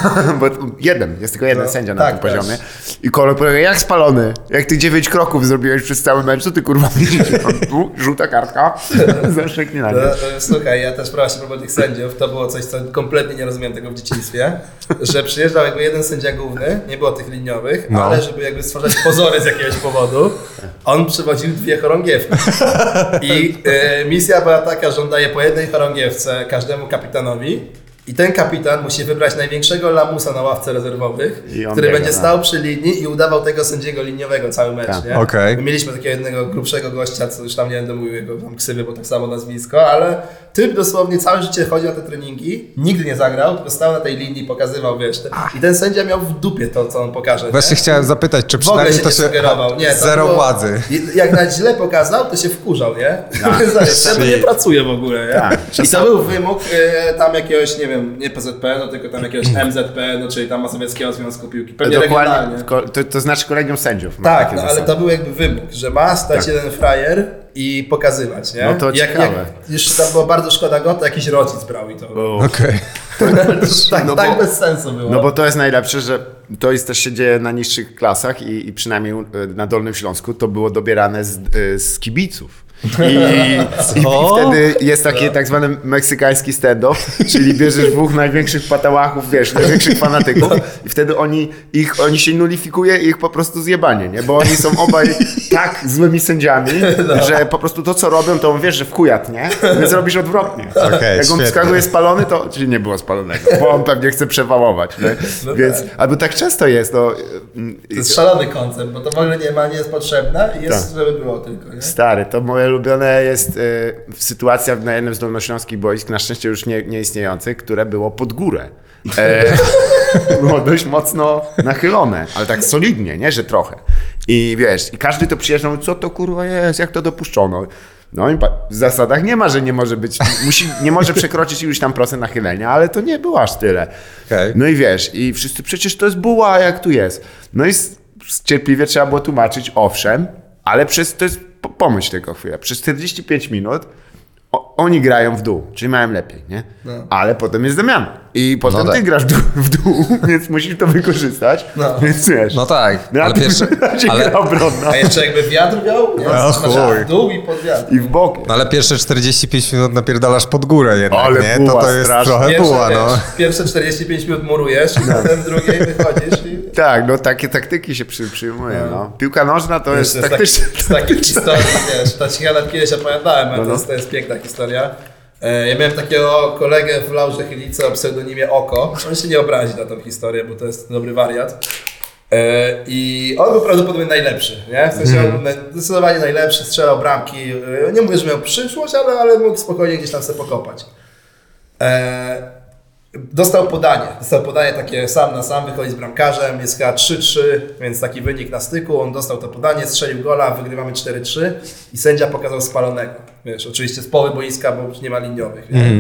Speaker 3: Bo jeden, jest tylko jeden
Speaker 2: No,
Speaker 3: sędzia na
Speaker 2: tak,
Speaker 3: tym poziomie. I kolor powiedział, jak spalony? Jak ty dziewięć kroków zrobiłeś przez cały mecz, to ty kurwa widzisz. Tu, żółta kartka, zaszczeknie na
Speaker 2: No,
Speaker 3: mnie.
Speaker 2: e, Słuchaj, ja też brałem się propos tych sędziów, to było coś, co kompletnie nie rozumiałem tego w dzieciństwie, że przyjeżdżał jakby jeden sędzia główny, nie było tych liniowych,
Speaker 4: No.
Speaker 2: ale żeby jakby stwarzać pozory z jakiegoś powodu, on przywoził dwie chorągiewki. I e, misja była taka, że on daje po jednej chorągiewce każdemu kapitanowi, I ten kapitan musi wybrać największego lamusa na ławce rezerwowych,
Speaker 3: I on
Speaker 2: który
Speaker 3: biega,
Speaker 2: będzie
Speaker 3: no.
Speaker 2: stał przy linii i udawał tego sędziego liniowego cały mecz.
Speaker 3: Tak.
Speaker 2: Nie?
Speaker 4: Okej.
Speaker 2: My Mieliśmy takiego jednego grubszego gościa, co już tam nie będę mówił jego tam ksywy, bo tak samo nazwisko, ale typ dosłownie całe życie chodził na te treningi, nigdy nie zagrał, tylko stał na tej linii, pokazywał, wiesz. Te... I ten sędzia miał w dupie to, co on pokaże. nie?
Speaker 4: Właśnie chciałem zapytać, czy
Speaker 2: w ogóle
Speaker 4: przynajmniej
Speaker 2: się
Speaker 4: to
Speaker 2: nie
Speaker 4: się...
Speaker 2: sugerował. Nie, to
Speaker 4: zero
Speaker 2: było-
Speaker 4: władzy.
Speaker 2: Jak na źle pokazał, to się wkurzał, nie? Zresztą to nie pracuje w ogóle, nie?
Speaker 3: znaczy- Tak.
Speaker 2: I to był wymóg e, tam jakiegoś, nie wiem, nie PZP, no tylko tam jakiegoś MZP, no czyli tam Mazowieckiego Związku Piłki, pewnie
Speaker 3: Mhm. Dokładnie,
Speaker 2: regionalnie.
Speaker 3: ko- to, to znaczy kolegium sędziów. ma
Speaker 2: Tak,
Speaker 3: takie
Speaker 2: no, ale
Speaker 3: zasady. Tak.
Speaker 2: to był jakby wymóg, że ma stać jeden frajer i pokazywać, nie?
Speaker 3: No to
Speaker 2: jak, jak,
Speaker 3: ciekawe.
Speaker 2: Już tam było bardzo szkoda go, to jakiś rodzic brał i to.
Speaker 3: Bo-
Speaker 4: Okej.
Speaker 2: tak
Speaker 3: no
Speaker 2: tak
Speaker 3: bo-
Speaker 2: bez sensu było.
Speaker 3: No bo to jest najlepsze, że to jest też się dzieje na niższych klasach i, i przynajmniej u- e, na Dolnym Śląsku to było dobierane z, y, z kibiców. I, i, i, I wtedy jest taki tak zwany meksykański stand-up, czyli bierzesz dwóch największych patałachów, wiesz, największych fanatyków i wtedy oni, ich, oni się nulifikuje i ich po prostu zjebanie, nie? Bo oni są obaj tak złymi sędziami, że po prostu to, co robią, to on wiesz, że w kujat, nie? Więc robisz odwrotnie.
Speaker 4: Okej,
Speaker 3: Jak on
Speaker 4: świetnie.
Speaker 3: wskakuje spalony, to czyli nie było spalonego, bo on pewnie chce przewałować. Nie?
Speaker 2: No
Speaker 3: Więc,
Speaker 2: tak.
Speaker 3: Albo tak często jest. No, mm,
Speaker 2: To jest szalony koncept, bo to w ogóle nie ma, nie jest potrzebne i jest,
Speaker 3: Tak.
Speaker 2: żeby było tylko, nie?
Speaker 3: Stary, to moje ulubione jest y, sytuacja na jednym z dolnośląskich boisk, na szczęście już nie, nieistniejących, które było pod górę. E, było dość mocno nachylone, ale tak solidnie, nie, że trochę. I wiesz, i każdy to przyjeżdżał, mówi, co to kurwa jest, jak to dopuszczono. No i pa- w zasadach nie ma, że nie może być, musi, nie może przekroczyć iluś tam procent nachylenia, ale to nie było aż tyle.
Speaker 4: Okej.
Speaker 3: No i wiesz, i wszyscy, przecież to jest buła, jak tu jest. No i s- s- cierpliwie trzeba było tłumaczyć, owszem, ale przez, to jest, po- pomyśl tego chwilę, przez 45 minut o, oni grają w dół, czyli mają lepiej, nie?
Speaker 2: No.
Speaker 3: Ale potem jest zamiana. I potem
Speaker 4: No tak.
Speaker 3: ty grasz w dół, w dół, więc musisz to wykorzystać,
Speaker 2: No.
Speaker 3: więc wiesz.
Speaker 4: No tak,
Speaker 3: na
Speaker 4: ale
Speaker 3: tym
Speaker 4: pierwszy...
Speaker 3: razie
Speaker 4: Ale,
Speaker 3: gra obronna.
Speaker 2: A jeszcze jakby wiatr miał, nie?
Speaker 4: A,
Speaker 2: Znaczy,
Speaker 4: chuj.
Speaker 2: w dół i pod wiatr.
Speaker 3: No, I w boki.
Speaker 4: no ale pierwsze 45 minut napierdalasz pod górę jednak,
Speaker 3: Ale
Speaker 4: nie?
Speaker 3: buła
Speaker 4: to to jest
Speaker 3: straszna.
Speaker 4: trochę buła,
Speaker 2: wiesz,
Speaker 4: no.
Speaker 2: pierwsze 45 minut murujesz, i potem drugiej wychodzisz i...
Speaker 3: Tak, no takie taktyki się przy, przyjmuje. No. Piłka nożna to jest,
Speaker 2: Wiesz, to jest
Speaker 3: taktyczna.
Speaker 2: taki, z takich historii, wiesz, ta ci chyba kiedyś opowiadałem, ale
Speaker 3: No,
Speaker 2: to,
Speaker 3: no.
Speaker 2: jest, to jest piękna historia. E, Ja miałem takiego kolegę w Laurze Chylicy o pseudonimie Oko. On się nie obrazi na tą historię, bo to jest dobry wariat. E, I on był prawdopodobnie najlepszy, nie? W sensie on
Speaker 3: Mhm.
Speaker 2: był naj- zdecydowanie najlepszy, strzelał bramki. E, Nie mówię, że miał przyszłość, ale, ale mógł spokojnie gdzieś tam sobie pokopać. E, Dostał podanie. Dostał podanie takie sam na sam, wychodzi z bramkarzem, jest chyba 3-3, więc taki wynik na styku. On dostał to podanie, strzelił gola, wygrywamy 4-3 i sędzia pokazał spalonego. Wiesz, oczywiście z połowy boiska, bo już nie ma liniowych. Nie?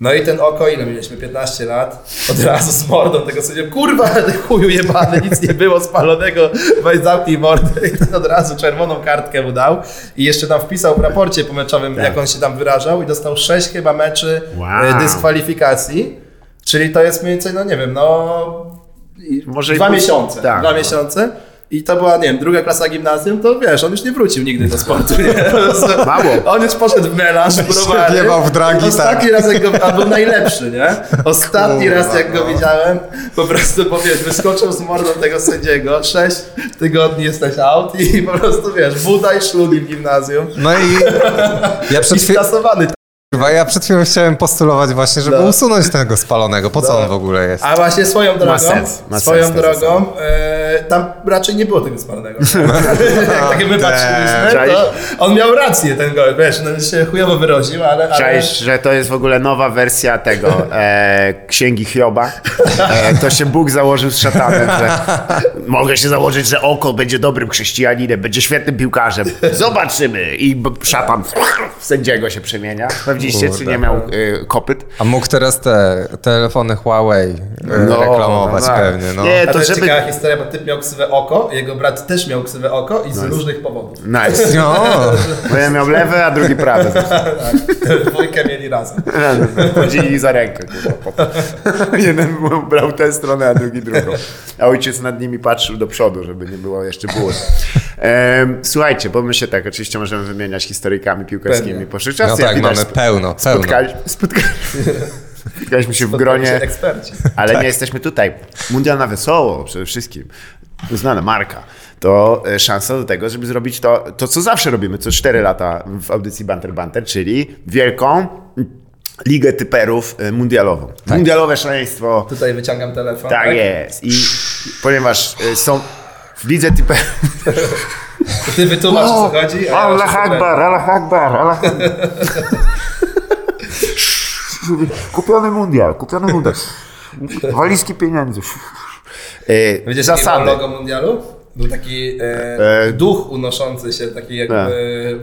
Speaker 2: No i ten oko, ile mieliśmy? 15 lat. Od razu z mordą tego sędzia. Kurwa, ty chuju jebany, nic nie było spalonego. Weź zamknij mordę. I ten od razu czerwoną kartkę mu dał. I jeszcze tam wpisał w raporcie pomeczowym, jak on się tam wyrażał i dostał 6 chyba meczy
Speaker 3: Wow.
Speaker 2: wow. dyskwalifikacji. Czyli to jest mniej więcej, no nie wiem, no
Speaker 3: Może i
Speaker 2: dwa
Speaker 3: pół-
Speaker 2: miesiące.
Speaker 3: Tak.
Speaker 2: Dwa miesiące. I to była, nie wiem, druga klasa gimnazjum, to wiesz, on już nie wrócił nigdy do sportu. Nie?
Speaker 3: Mało.
Speaker 2: On już poszedł w melanż, browary.
Speaker 4: wjebał w dragi,
Speaker 2: Ostatni raz, jak go, a był najlepszy, nie? Ostatni
Speaker 4: Kurwa,
Speaker 2: raz, jak go
Speaker 4: no.
Speaker 2: widziałem, po prostu, bo wiesz, wyskoczył z mordą tego sędziego, sześć tygodni jesteś out i po prostu, wiesz, buda i szlugi w gimnazjum.
Speaker 4: No i ja
Speaker 2: I
Speaker 4: przed, chwil...
Speaker 2: skasowany.
Speaker 4: Kurwa, ja przed chwilą chciałem postulować właśnie, żeby
Speaker 2: No.
Speaker 4: usunąć tego spalonego. Po co
Speaker 3: No.
Speaker 4: on w ogóle jest?
Speaker 2: A właśnie swoją drogą,
Speaker 3: sens, ma
Speaker 2: swoją
Speaker 3: sens, to
Speaker 2: drogą, e, tam raczej nie było tego spalonego. Jak tak my patrzyliśmy,
Speaker 3: Czaisz?
Speaker 2: to on miał rację ten gość, wiesz, no się chujowo wyroził, ale... ale
Speaker 3: Czaisz, że to jest w ogóle nowa wersja tego e, księgi Hioba. E, to się Bóg założył z szatanem, że mogę się założyć, że oko będzie dobrym chrześcijaninem, będzie świetnym piłkarzem. Zobaczymy. I b- szatan w sędziego się przemienia. Sprawdziliście, czy nie miał e, kopyt.
Speaker 4: A mógł teraz te telefony Huawei e,
Speaker 3: No,
Speaker 4: reklamować
Speaker 3: no tak.
Speaker 4: pewnie, no.
Speaker 3: Nie,
Speaker 2: A
Speaker 3: to
Speaker 2: to jest
Speaker 3: żeby...
Speaker 2: ciekawa historia, bo typ miał ksywę oko, jego brat też miał ksywę oko i z różnych powodów.
Speaker 3: Nice.
Speaker 4: No,
Speaker 3: Bo ja miał lewe, a drugi prawe.
Speaker 2: Dwójkę mieli razem.
Speaker 3: Chodzili za rękę. kurwa, potem. Jeden brał tę stronę, a drugi drugą. A ojciec nad nimi patrzył do przodu, żeby nie było jeszcze bólu. Em, Słuchajcie, bo my się tak oczywiście możemy wymieniać historykami piłkarskimi
Speaker 2: Pewnie.
Speaker 3: po
Speaker 4: no
Speaker 3: czasu.
Speaker 4: tak, mamy pełno, pełno.
Speaker 3: spotkali, spotkali, spotkaliśmy się w gronie,
Speaker 2: Eksperci.
Speaker 3: ale nie jesteśmy tutaj. Mundial na wesoło przede wszystkim. Uznana marka. To e, szansa do tego, żeby zrobić to, to co zawsze robimy, co 4 lata w audycji Banter Banter, czyli wielką Ligę Typerów y, Mundialową. Mundialowe szaleństwo.
Speaker 2: Tutaj wyciągam telefon.
Speaker 3: Tak jest. I ponieważ y, są w Lidze Typerów...
Speaker 2: To Ty wytłumacz, o co chodzi. a ja
Speaker 3: Allah
Speaker 2: się
Speaker 3: Akbar, Allah Akbar, Allah Akbar. Kupiony mundial, kupiony mundial. Walizki pieniędzy. E,
Speaker 2: Widzisz, Zasady.
Speaker 3: Zasady.
Speaker 2: logo mundialu? Był taki e,
Speaker 3: E. tak.
Speaker 2: duch unoszący się, taki jakby...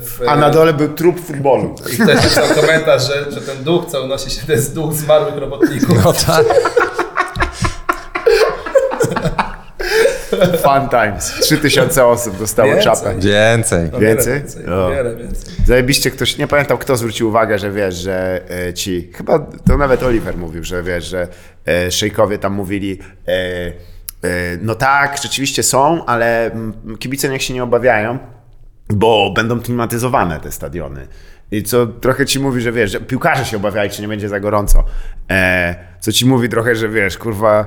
Speaker 2: W,
Speaker 3: A na dole był trup futbolu.
Speaker 2: I też pisał komentarz, że, że ten duch, co unosi się, to jest duch zmarłych robotników.
Speaker 4: No tak.
Speaker 3: Fun times. 3000 osób dostało
Speaker 2: Więcej.
Speaker 3: czapę. Więcej?
Speaker 4: Więcej.
Speaker 3: No.
Speaker 2: Więcej,
Speaker 3: O.
Speaker 2: wiele więcej.
Speaker 3: Zajebiście ktoś, nie pamiętam kto zwrócił uwagę, że wiesz, że e, ci, chyba to nawet Oliver mówił, że wiesz, że e, szejkowie tam mówili, e, e, no tak, rzeczywiście są, ale mm, kibice niech się nie obawiają, bo będą klimatyzowane te stadiony. I co trochę ci mówi, że wiesz, że piłkarze się obawiali, czy nie będzie za gorąco. E, co ci mówi trochę, że wiesz, kurwa,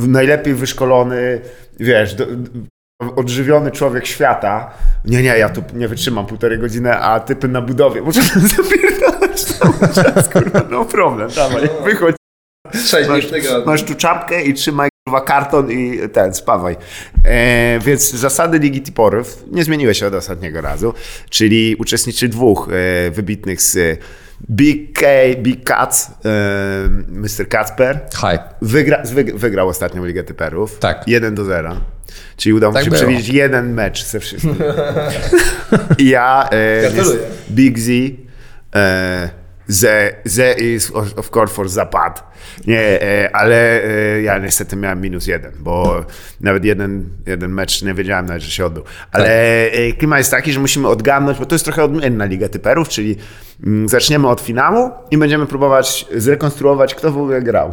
Speaker 3: e, najlepiej wyszkolony, wiesz, do, odżywiony człowiek świata. Nie, nie, ja tu nie wytrzymam półtorej godziny, a typy na budowie. Muszę zapierdalać cały czas, kurwa, no problem, dawaj, wychodź.
Speaker 2: Sześć dni
Speaker 3: Masz,
Speaker 2: w tygodniu.
Speaker 3: masz tu czapkę i trzymaj kurwa karton i ten, spawaj. E, więc zasady Ligi Tiporów nie zmieniły się od ostatniego razu, czyli uczestniczy dwóch e, wybitnych z Big K, Big Cats, e, Mr. Kacper.
Speaker 4: Hype.
Speaker 3: Wygra, wyg- wygrał ostatnią Ligę Typerów.
Speaker 4: Tak.
Speaker 3: 1 do 0. Czyli udało mu
Speaker 4: Tak
Speaker 3: się
Speaker 4: było.
Speaker 3: przewidzieć jeden mecz ze wszystkich. I ja, e,
Speaker 2: Gratuluję.
Speaker 3: jest Big Z, e, ze, ze is of- of course for zapadł. Nie, e, ale e, ja niestety miałem minus jeden, bo nawet jeden, jeden mecz nie wiedziałem nawet, że się odbył. Ale
Speaker 4: Tak.
Speaker 3: e, klimat jest taki, że musimy odgamnąć, bo to jest trochę odmienna Liga Typerów, czyli mm, zaczniemy od finału i będziemy próbować zrekonstruować, kto w ogóle grał.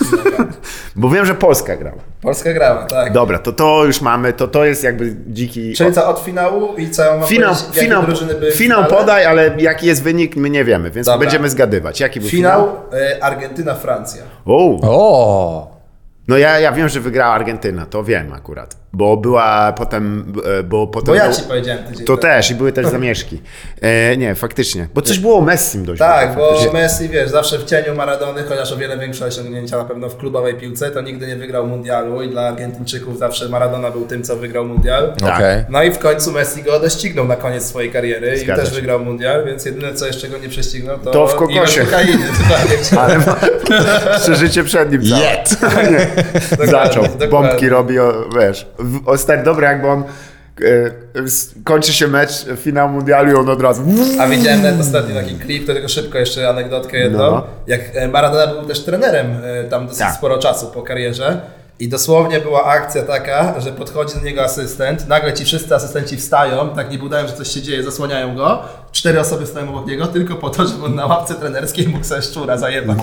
Speaker 3: Bo wiem, że Polska grała.
Speaker 2: Polska grała, tak.
Speaker 3: Dobra, to to już mamy, to to jest jakby dziki...
Speaker 2: Czyli co, od finału i co ja mam
Speaker 3: Finał,
Speaker 2: powiedzieć, jakie
Speaker 3: finał,
Speaker 2: drużyny były w
Speaker 3: finał
Speaker 2: finale?
Speaker 3: podaj, ale jaki jest wynik, my nie wiemy, więc
Speaker 2: Dobra.
Speaker 3: będziemy zgadywać. Jaki był finał?
Speaker 2: Finał e, Argentyna-Francja.
Speaker 3: O,
Speaker 4: O!
Speaker 3: no ja, ja wiem, że wygrała Argentyna, to wiem akurat, bo była potem, e, bo potem...
Speaker 2: Bo ja
Speaker 3: był-
Speaker 2: ci powiedziałem tydzień
Speaker 3: To
Speaker 2: temu.
Speaker 3: też i były też zamieszki. E, nie, faktycznie, bo coś było o Messim dość.
Speaker 2: Tak,
Speaker 3: było,
Speaker 2: bo
Speaker 3: faktycznie.
Speaker 2: Messi, wiesz, zawsze w cieniu Maradony, chociaż o wiele większe osiągnięcia na pewno w klubowej piłce, to nigdy nie wygrał mundialu i dla Argentyńczyków zawsze Maradona był tym, co wygrał mundial.
Speaker 3: Tak.
Speaker 4: Okej.
Speaker 2: No i w końcu Messi go doścignął na koniec swojej kariery i
Speaker 3: Zgadza
Speaker 2: też
Speaker 3: się.
Speaker 2: wygrał mundial, więc jedyne, co jeszcze go nie prześcignął, to,
Speaker 3: To w kokosie.
Speaker 2: ilość kokainy. Tak, Dokładnie.
Speaker 3: Ale ma, jeszcze życie przed nim całe.
Speaker 4: Yet.
Speaker 2: Dokładnie,
Speaker 3: Zaczął,
Speaker 2: dokładnie.
Speaker 3: bombki robi, o, wiesz. W- Ostatnio, dobra, jakby on... e, s- Kończy się mecz, finał mundialu i on od razu...
Speaker 2: A widziałem nawet ostatnio taki klip, to tylko szybko jeszcze anegdotkę jedną.
Speaker 3: No.
Speaker 2: Jak e, Maradona był też trenerem e, tam dosyć
Speaker 3: Tak.
Speaker 2: sporo czasu po karierze. I dosłownie była akcja taka, że podchodzi do niego asystent, nagle ci wszyscy asystenci wstają, tak nie budają, że coś się dzieje, zasłaniają go. Cztery osoby stoją obok niego tylko po to, żeby on na ławce trenerskiej mógł sobie szczura zajebać.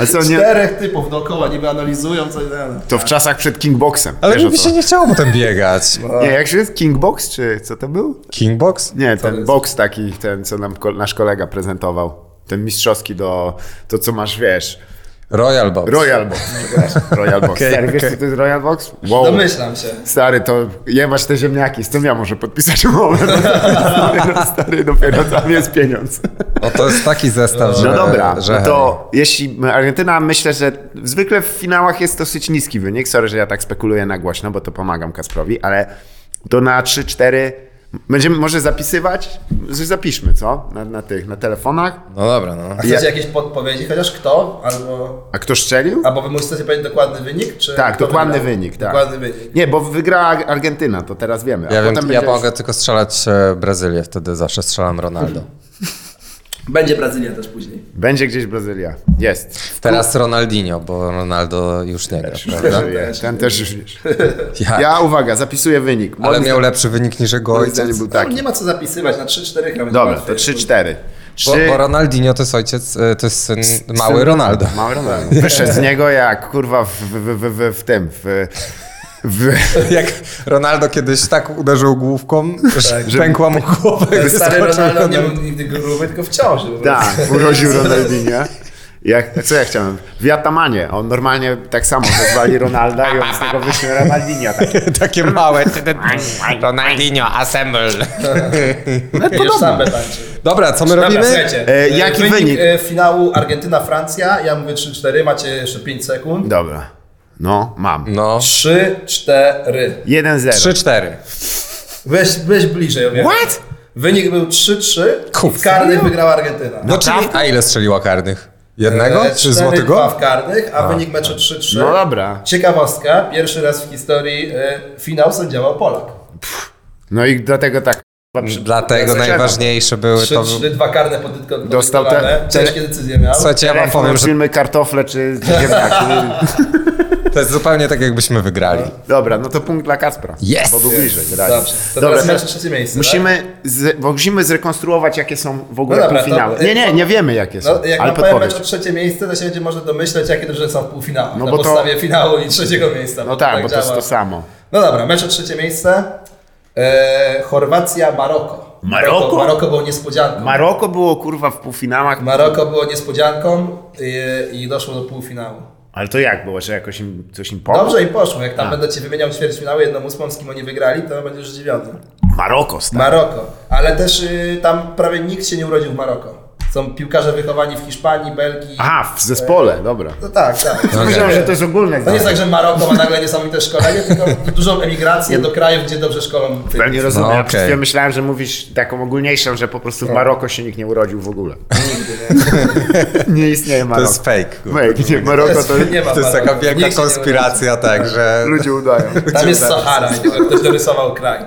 Speaker 3: A co, nie,
Speaker 2: Czterech typów dookoła niby analizują coś. no,
Speaker 3: To w czasach przed Kingboxem.
Speaker 4: Ale
Speaker 3: Wiesz,
Speaker 4: mi
Speaker 3: o
Speaker 4: by
Speaker 3: co?
Speaker 4: się nie chciało potem biegać.
Speaker 3: Nie, jak się jest Kingbox, czy co to był?
Speaker 4: Kingbox?
Speaker 3: Nie, ten
Speaker 2: jest?
Speaker 3: box taki, ten co nam ko- nasz kolega prezentował. Ten mistrzowski do, to co masz, wiesz,
Speaker 4: Royal Box.
Speaker 3: Royal Box. przepraszam, Royal Box.
Speaker 4: Okej,
Speaker 3: Stary, wiesz
Speaker 4: okej.
Speaker 3: co to jest Royal Box?
Speaker 2: No
Speaker 3: Wow.
Speaker 2: Domyślam się.
Speaker 3: Stary, to jebać te ziemniaki, z tym ja może podpisać umowę. Dopiero, stary, dopiero tam jest pieniądz.
Speaker 4: O, No to jest taki zestaw, że...
Speaker 3: No dobra,
Speaker 4: że
Speaker 3: no to jeśli Argentyna, myślę, że zwykle w finałach jest dosyć niski wynik. Sorry, że ja tak spekuluję na głośno, bo to pomagam Kasprowi, ale to na 3-4 będziemy może zapisywać, że zapiszmy, co? Na, na tych, na telefonach.
Speaker 4: No dobra, no.
Speaker 2: A chcecie
Speaker 3: Ja-
Speaker 2: jakieś podpowiedzi, chociaż kto? Albo,
Speaker 3: A kto strzelił?
Speaker 2: albo wy musicie powiedzieć dokładny wynik? Czy
Speaker 3: tak,
Speaker 2: kto
Speaker 3: dokładny
Speaker 2: wygrał?
Speaker 3: wynik, tak.
Speaker 2: Dokładny wynik.
Speaker 3: Nie, bo wygrała Argentyna, to teraz wiemy. a
Speaker 4: Ja, wiem,
Speaker 3: potem
Speaker 4: ja
Speaker 3: będzie-
Speaker 4: mogę tylko strzelać e, Brazylię, wtedy zawsze strzelam Ronaldo.
Speaker 2: Będzie Brazylia też później.
Speaker 3: Będzie gdzieś Brazylia. Jest.
Speaker 4: Teraz Ronaldinho, bo Ronaldo już nie gra, prawda?
Speaker 3: Żyje. Ten też już wiesz.
Speaker 4: Ja,
Speaker 3: Ja, uwaga, zapisuję wynik.
Speaker 4: Tak. ale
Speaker 3: Moim
Speaker 4: miał lepszy wynik niż jego
Speaker 3: moim
Speaker 4: ojciec.
Speaker 3: zdaniem był
Speaker 2: Tak.
Speaker 3: taki.
Speaker 2: Nie ma co zapisywać, na 3-4 chyba
Speaker 3: Dobra, to 3-4.
Speaker 4: Bo,
Speaker 3: Trzy-
Speaker 4: bo Ronaldinho to jest ojciec, e, to jest syn mały
Speaker 3: Syn-
Speaker 4: Ronaldo.
Speaker 3: Mały Ronaldo. Wyszedł z niego jak kurwa w, w, w, w, w tym. W, w,
Speaker 4: Jak Ronaldo kiedyś tak uderzył główką, że pękła mu głowa.
Speaker 2: Tak, Stary
Speaker 4: Wyskoczył
Speaker 2: Ronaldo nie
Speaker 4: Ronaldo.
Speaker 2: był nigdy gruby, tylko w ciąży. po prostu.
Speaker 3: tak, urodził tak, Ronaldinho. Jak, co ja chciałem? W Jatamanie. On normalnie tak samo wezwali Ronalda i on z tego wyszły Ronaldinho. Takie.
Speaker 4: Takie małe. Ronaldinho, assemble.
Speaker 3: No,
Speaker 2: Już sam tańczy.
Speaker 4: Dobra, co my
Speaker 2: Dobra,
Speaker 4: robimy?
Speaker 2: słuchajcie.
Speaker 3: E, jaki wynik?
Speaker 2: e, finału Argentyna-Francja. Ja mówię 3-4, macie jeszcze 5 sekund.
Speaker 3: Dobra. No, mam.
Speaker 4: No.
Speaker 2: 3-4.
Speaker 3: 1-0.
Speaker 4: 3-4.
Speaker 2: Weź, weź bliżej, obie.
Speaker 3: What?
Speaker 2: Wynik był 3-3.
Speaker 4: Kurwa.
Speaker 2: W karnych wygrała Argentyna.
Speaker 4: No czyli, a ile strzeliła karnych? Jednego?
Speaker 2: E,
Speaker 4: Czy
Speaker 2: 4-2
Speaker 4: złoty gol?
Speaker 2: w karnych, a, wynik meczu 3-3.
Speaker 3: No dobra.
Speaker 2: Ciekawostka, pierwszy raz w historii e, finał sędziował Polak.
Speaker 3: No i dlatego tak.
Speaker 4: Dlatego
Speaker 3: Zaczynam.
Speaker 4: najważniejsze były to...
Speaker 2: 3-3, dwa karne pod tylko
Speaker 3: Dostał te-
Speaker 2: Ciężkie decyzje miał.
Speaker 4: Słuchajcie, ja wam
Speaker 3: Telefon,
Speaker 4: powiem, że
Speaker 3: no, filmy, kartofle czy ziemniaki.
Speaker 4: to jest zupełnie tak, jakbyśmy wygrali.
Speaker 3: Dobra, no to punkt dla Kacpra.
Speaker 4: Yes!
Speaker 3: Bo był bliżej. wyraźnie.
Speaker 2: Dobrze, to teraz
Speaker 3: teraz
Speaker 2: masz trzecie miejsce. tak?
Speaker 3: musimy, z, bo musimy zrekonstruować, jakie są w ogóle
Speaker 2: No dobra,
Speaker 3: półfinały.
Speaker 2: to-
Speaker 3: Nie, nie, nie wiemy, jakie
Speaker 2: tak?
Speaker 3: są,
Speaker 2: No, jak
Speaker 3: ale
Speaker 2: nam powiem
Speaker 3: podpowiedź.
Speaker 2: mecz o trzecie miejsce, to się będzie można domyśleć, jakie drużyny są w półfinałach.
Speaker 3: No
Speaker 2: na
Speaker 3: bo to-
Speaker 2: podstawie finału i trzeciego miejsca.
Speaker 3: No tak, bo to jest
Speaker 2: działa.
Speaker 3: to samo.
Speaker 2: No dobra, mecz o trzecie miejsce. E, Chorwacja, Maroko.
Speaker 3: Maroko?
Speaker 2: Maroko. Maroko było niespodzianką.
Speaker 3: Maroko było kurwa w półfinałach,
Speaker 2: Maroko było niespodzianką i, i doszło do półfinału.
Speaker 3: ale to jak było, że jakoś im, coś im pomogło?
Speaker 2: Dobrze i poszło. Jak
Speaker 3: Tak.
Speaker 2: tam będę ci wymieniał ćwierćfinały jedną ósmą, z kim oni wygrali, to będziesz zdziwiony.
Speaker 3: Maroko, stary.
Speaker 2: Maroko. Ale też y, tam prawie nikt się nie urodził w Maroko. Są piłkarze wychowani w Hiszpanii, Belgii.
Speaker 3: Aha, w zespole, dobra.
Speaker 2: No tak, tak.
Speaker 3: Myślałem, że to jest ogólne.
Speaker 2: To nie jest tak, że Maroko ma nagle niesamite szkolenie, tylko dużą emigrację do krajów, gdzie dobrze szkolą. tych.
Speaker 3: Ja nie rozumiem.
Speaker 4: No,
Speaker 3: Ja przed
Speaker 4: okej.
Speaker 3: chwilą myślałem, że mówisz taką ogólniejszą, że po prostu w Maroko się nikt nie urodził w ogóle. nie istnieje
Speaker 4: To
Speaker 3: Maroko.
Speaker 4: jest fake.
Speaker 3: Mej, nie, Maroko to
Speaker 2: nie ma
Speaker 4: To jest taka
Speaker 2: Maroko.
Speaker 4: wielka
Speaker 2: Nikt się nie
Speaker 4: konspiracja, tak, że...
Speaker 3: ludzie udają.
Speaker 2: Tam jest Sahara, i ktoś dorysował kraj.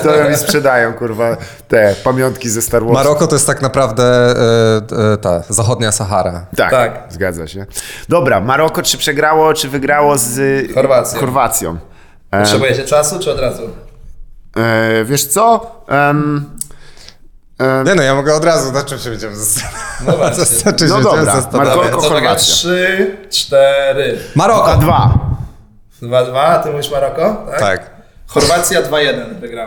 Speaker 3: Stoją i sprzedają, kurwa, te pamiątki ze Star Wars.
Speaker 4: Maroko to jest tak naprawdę e, e, ta zachodnia Sahara.
Speaker 3: Tak,
Speaker 2: Tak.
Speaker 3: zgadza się. Dobra, Maroko czy przegrało, czy wygrało z y,
Speaker 2: Chorwacją.
Speaker 3: Chorwacją. E,
Speaker 2: Potrzebujecie czasu, czy od razu?
Speaker 3: e, wiesz co? Em,
Speaker 4: Nie no, ja mogę od razu, na czym się będziemy zastanawiać.
Speaker 2: No właśnie.
Speaker 4: Na czym się
Speaker 3: No
Speaker 4: będziemy
Speaker 3: dobra,
Speaker 4: zastanawiać?
Speaker 3: Maroko-
Speaker 2: To taka
Speaker 3: Chorwacja.
Speaker 2: 3, 4,
Speaker 3: a
Speaker 4: Maroko!
Speaker 3: dwa.
Speaker 2: 2, 2, ty mówisz Maroko? Tak.
Speaker 4: Tak.
Speaker 2: Chorwacja 2-1 wygrała.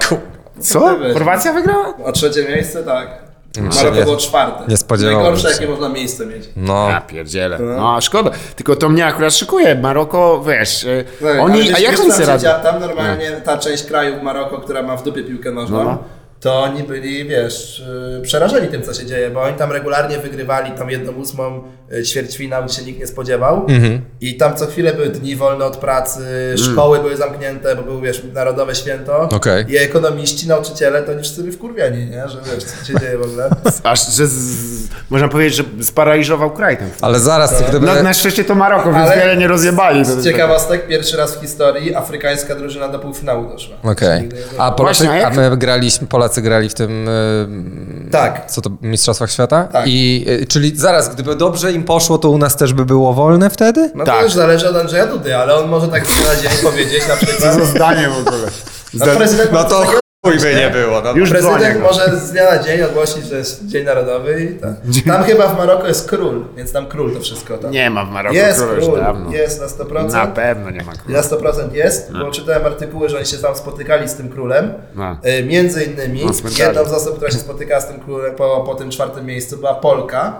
Speaker 3: Co? Chorwacja wygrała?
Speaker 2: A trzecie miejsce, tak.
Speaker 4: się nie-
Speaker 2: Maroko było czwarte.
Speaker 4: nie spodziewałem
Speaker 2: Najgorsze,
Speaker 4: się.
Speaker 2: jakie można miejsce mieć.
Speaker 4: No.
Speaker 3: Ja pierdzielę. No, szkoda. Tylko to mnie akurat szykuje. Maroko, wiesz, e,
Speaker 2: Tak, ale
Speaker 3: oni,
Speaker 2: wiesz,
Speaker 3: a jak
Speaker 2: wiesz,
Speaker 3: oni
Speaker 2: tam
Speaker 3: sobie
Speaker 2: się
Speaker 3: radzą?
Speaker 2: dzia- Tam normalnie ta część kraju Maroko, która ma w dupie piłkę nożną,
Speaker 3: No.
Speaker 2: to oni byli, wiesz, yy, przerażeni tym, co się dzieje, bo oni tam regularnie wygrywali tam jedną ósmą yy, ćwierćfinał, gdzie się nikt nie spodziewał
Speaker 3: Mhm.
Speaker 2: i tam co chwilę były dni wolne od pracy,
Speaker 3: Mm.
Speaker 2: szkoły były zamknięte, bo było, wiesz, narodowe święto
Speaker 4: Okej.
Speaker 2: i ekonomiści, nauczyciele, to oni wszyscy byli wkurwieni, nie? Że wiesz, co się dzieje w ogóle.
Speaker 3: Aż, że z, z, można powiedzieć, że sparaliżował kraj ten.
Speaker 4: Ale zaraz, ty gdyby...
Speaker 3: No, na szczęście to Maroko, więc
Speaker 2: Ale-
Speaker 3: wiele nie rozjebali. tak.
Speaker 2: Z ciekawostek, pierwszy raz w historicji afrykańska drużyna do półfinału doszła.
Speaker 4: Okej. A Polacy,
Speaker 3: Właśnie, a
Speaker 4: a
Speaker 3: jak-
Speaker 4: my graliśmy, Polacy grali w tym,
Speaker 3: Mm.
Speaker 4: y,
Speaker 2: Tak,
Speaker 4: co to, Mistrzostwach Świata?
Speaker 2: Tak.
Speaker 4: I, y, czyli zaraz, gdyby dobrze im poszło, to u nas też by było wolne wtedy?
Speaker 2: No
Speaker 3: Tak.
Speaker 2: to już zależy od Andrzeja Dudy, ale on może tak na dzień powiedzieć na przykład.
Speaker 3: Co za zdanie w ogóle.
Speaker 2: No, prezydent,
Speaker 4: No to chuj by nie było. No.
Speaker 3: Już dzwonię.
Speaker 2: prezydent może z dnia na dzień ogłosić, że jest Dzień Narodowy i tak. Tam chyba w Maroku jest król, więc tam król to wszystko. Tam.
Speaker 3: Nie ma w Maroku
Speaker 2: jest
Speaker 3: króla już
Speaker 2: król,
Speaker 3: dawno.
Speaker 2: jest no. na 100%.
Speaker 3: Na pewno nie ma króla.
Speaker 2: Na 100% jest, bo czytałem artykuły, że oni się tam spotykali z tym królem.
Speaker 3: No.
Speaker 2: Y, Między innymi
Speaker 3: Na cmentarzu.
Speaker 2: jedną z osób, która się spotykała z tym królem po, po tym czwartym miejscu była Polka,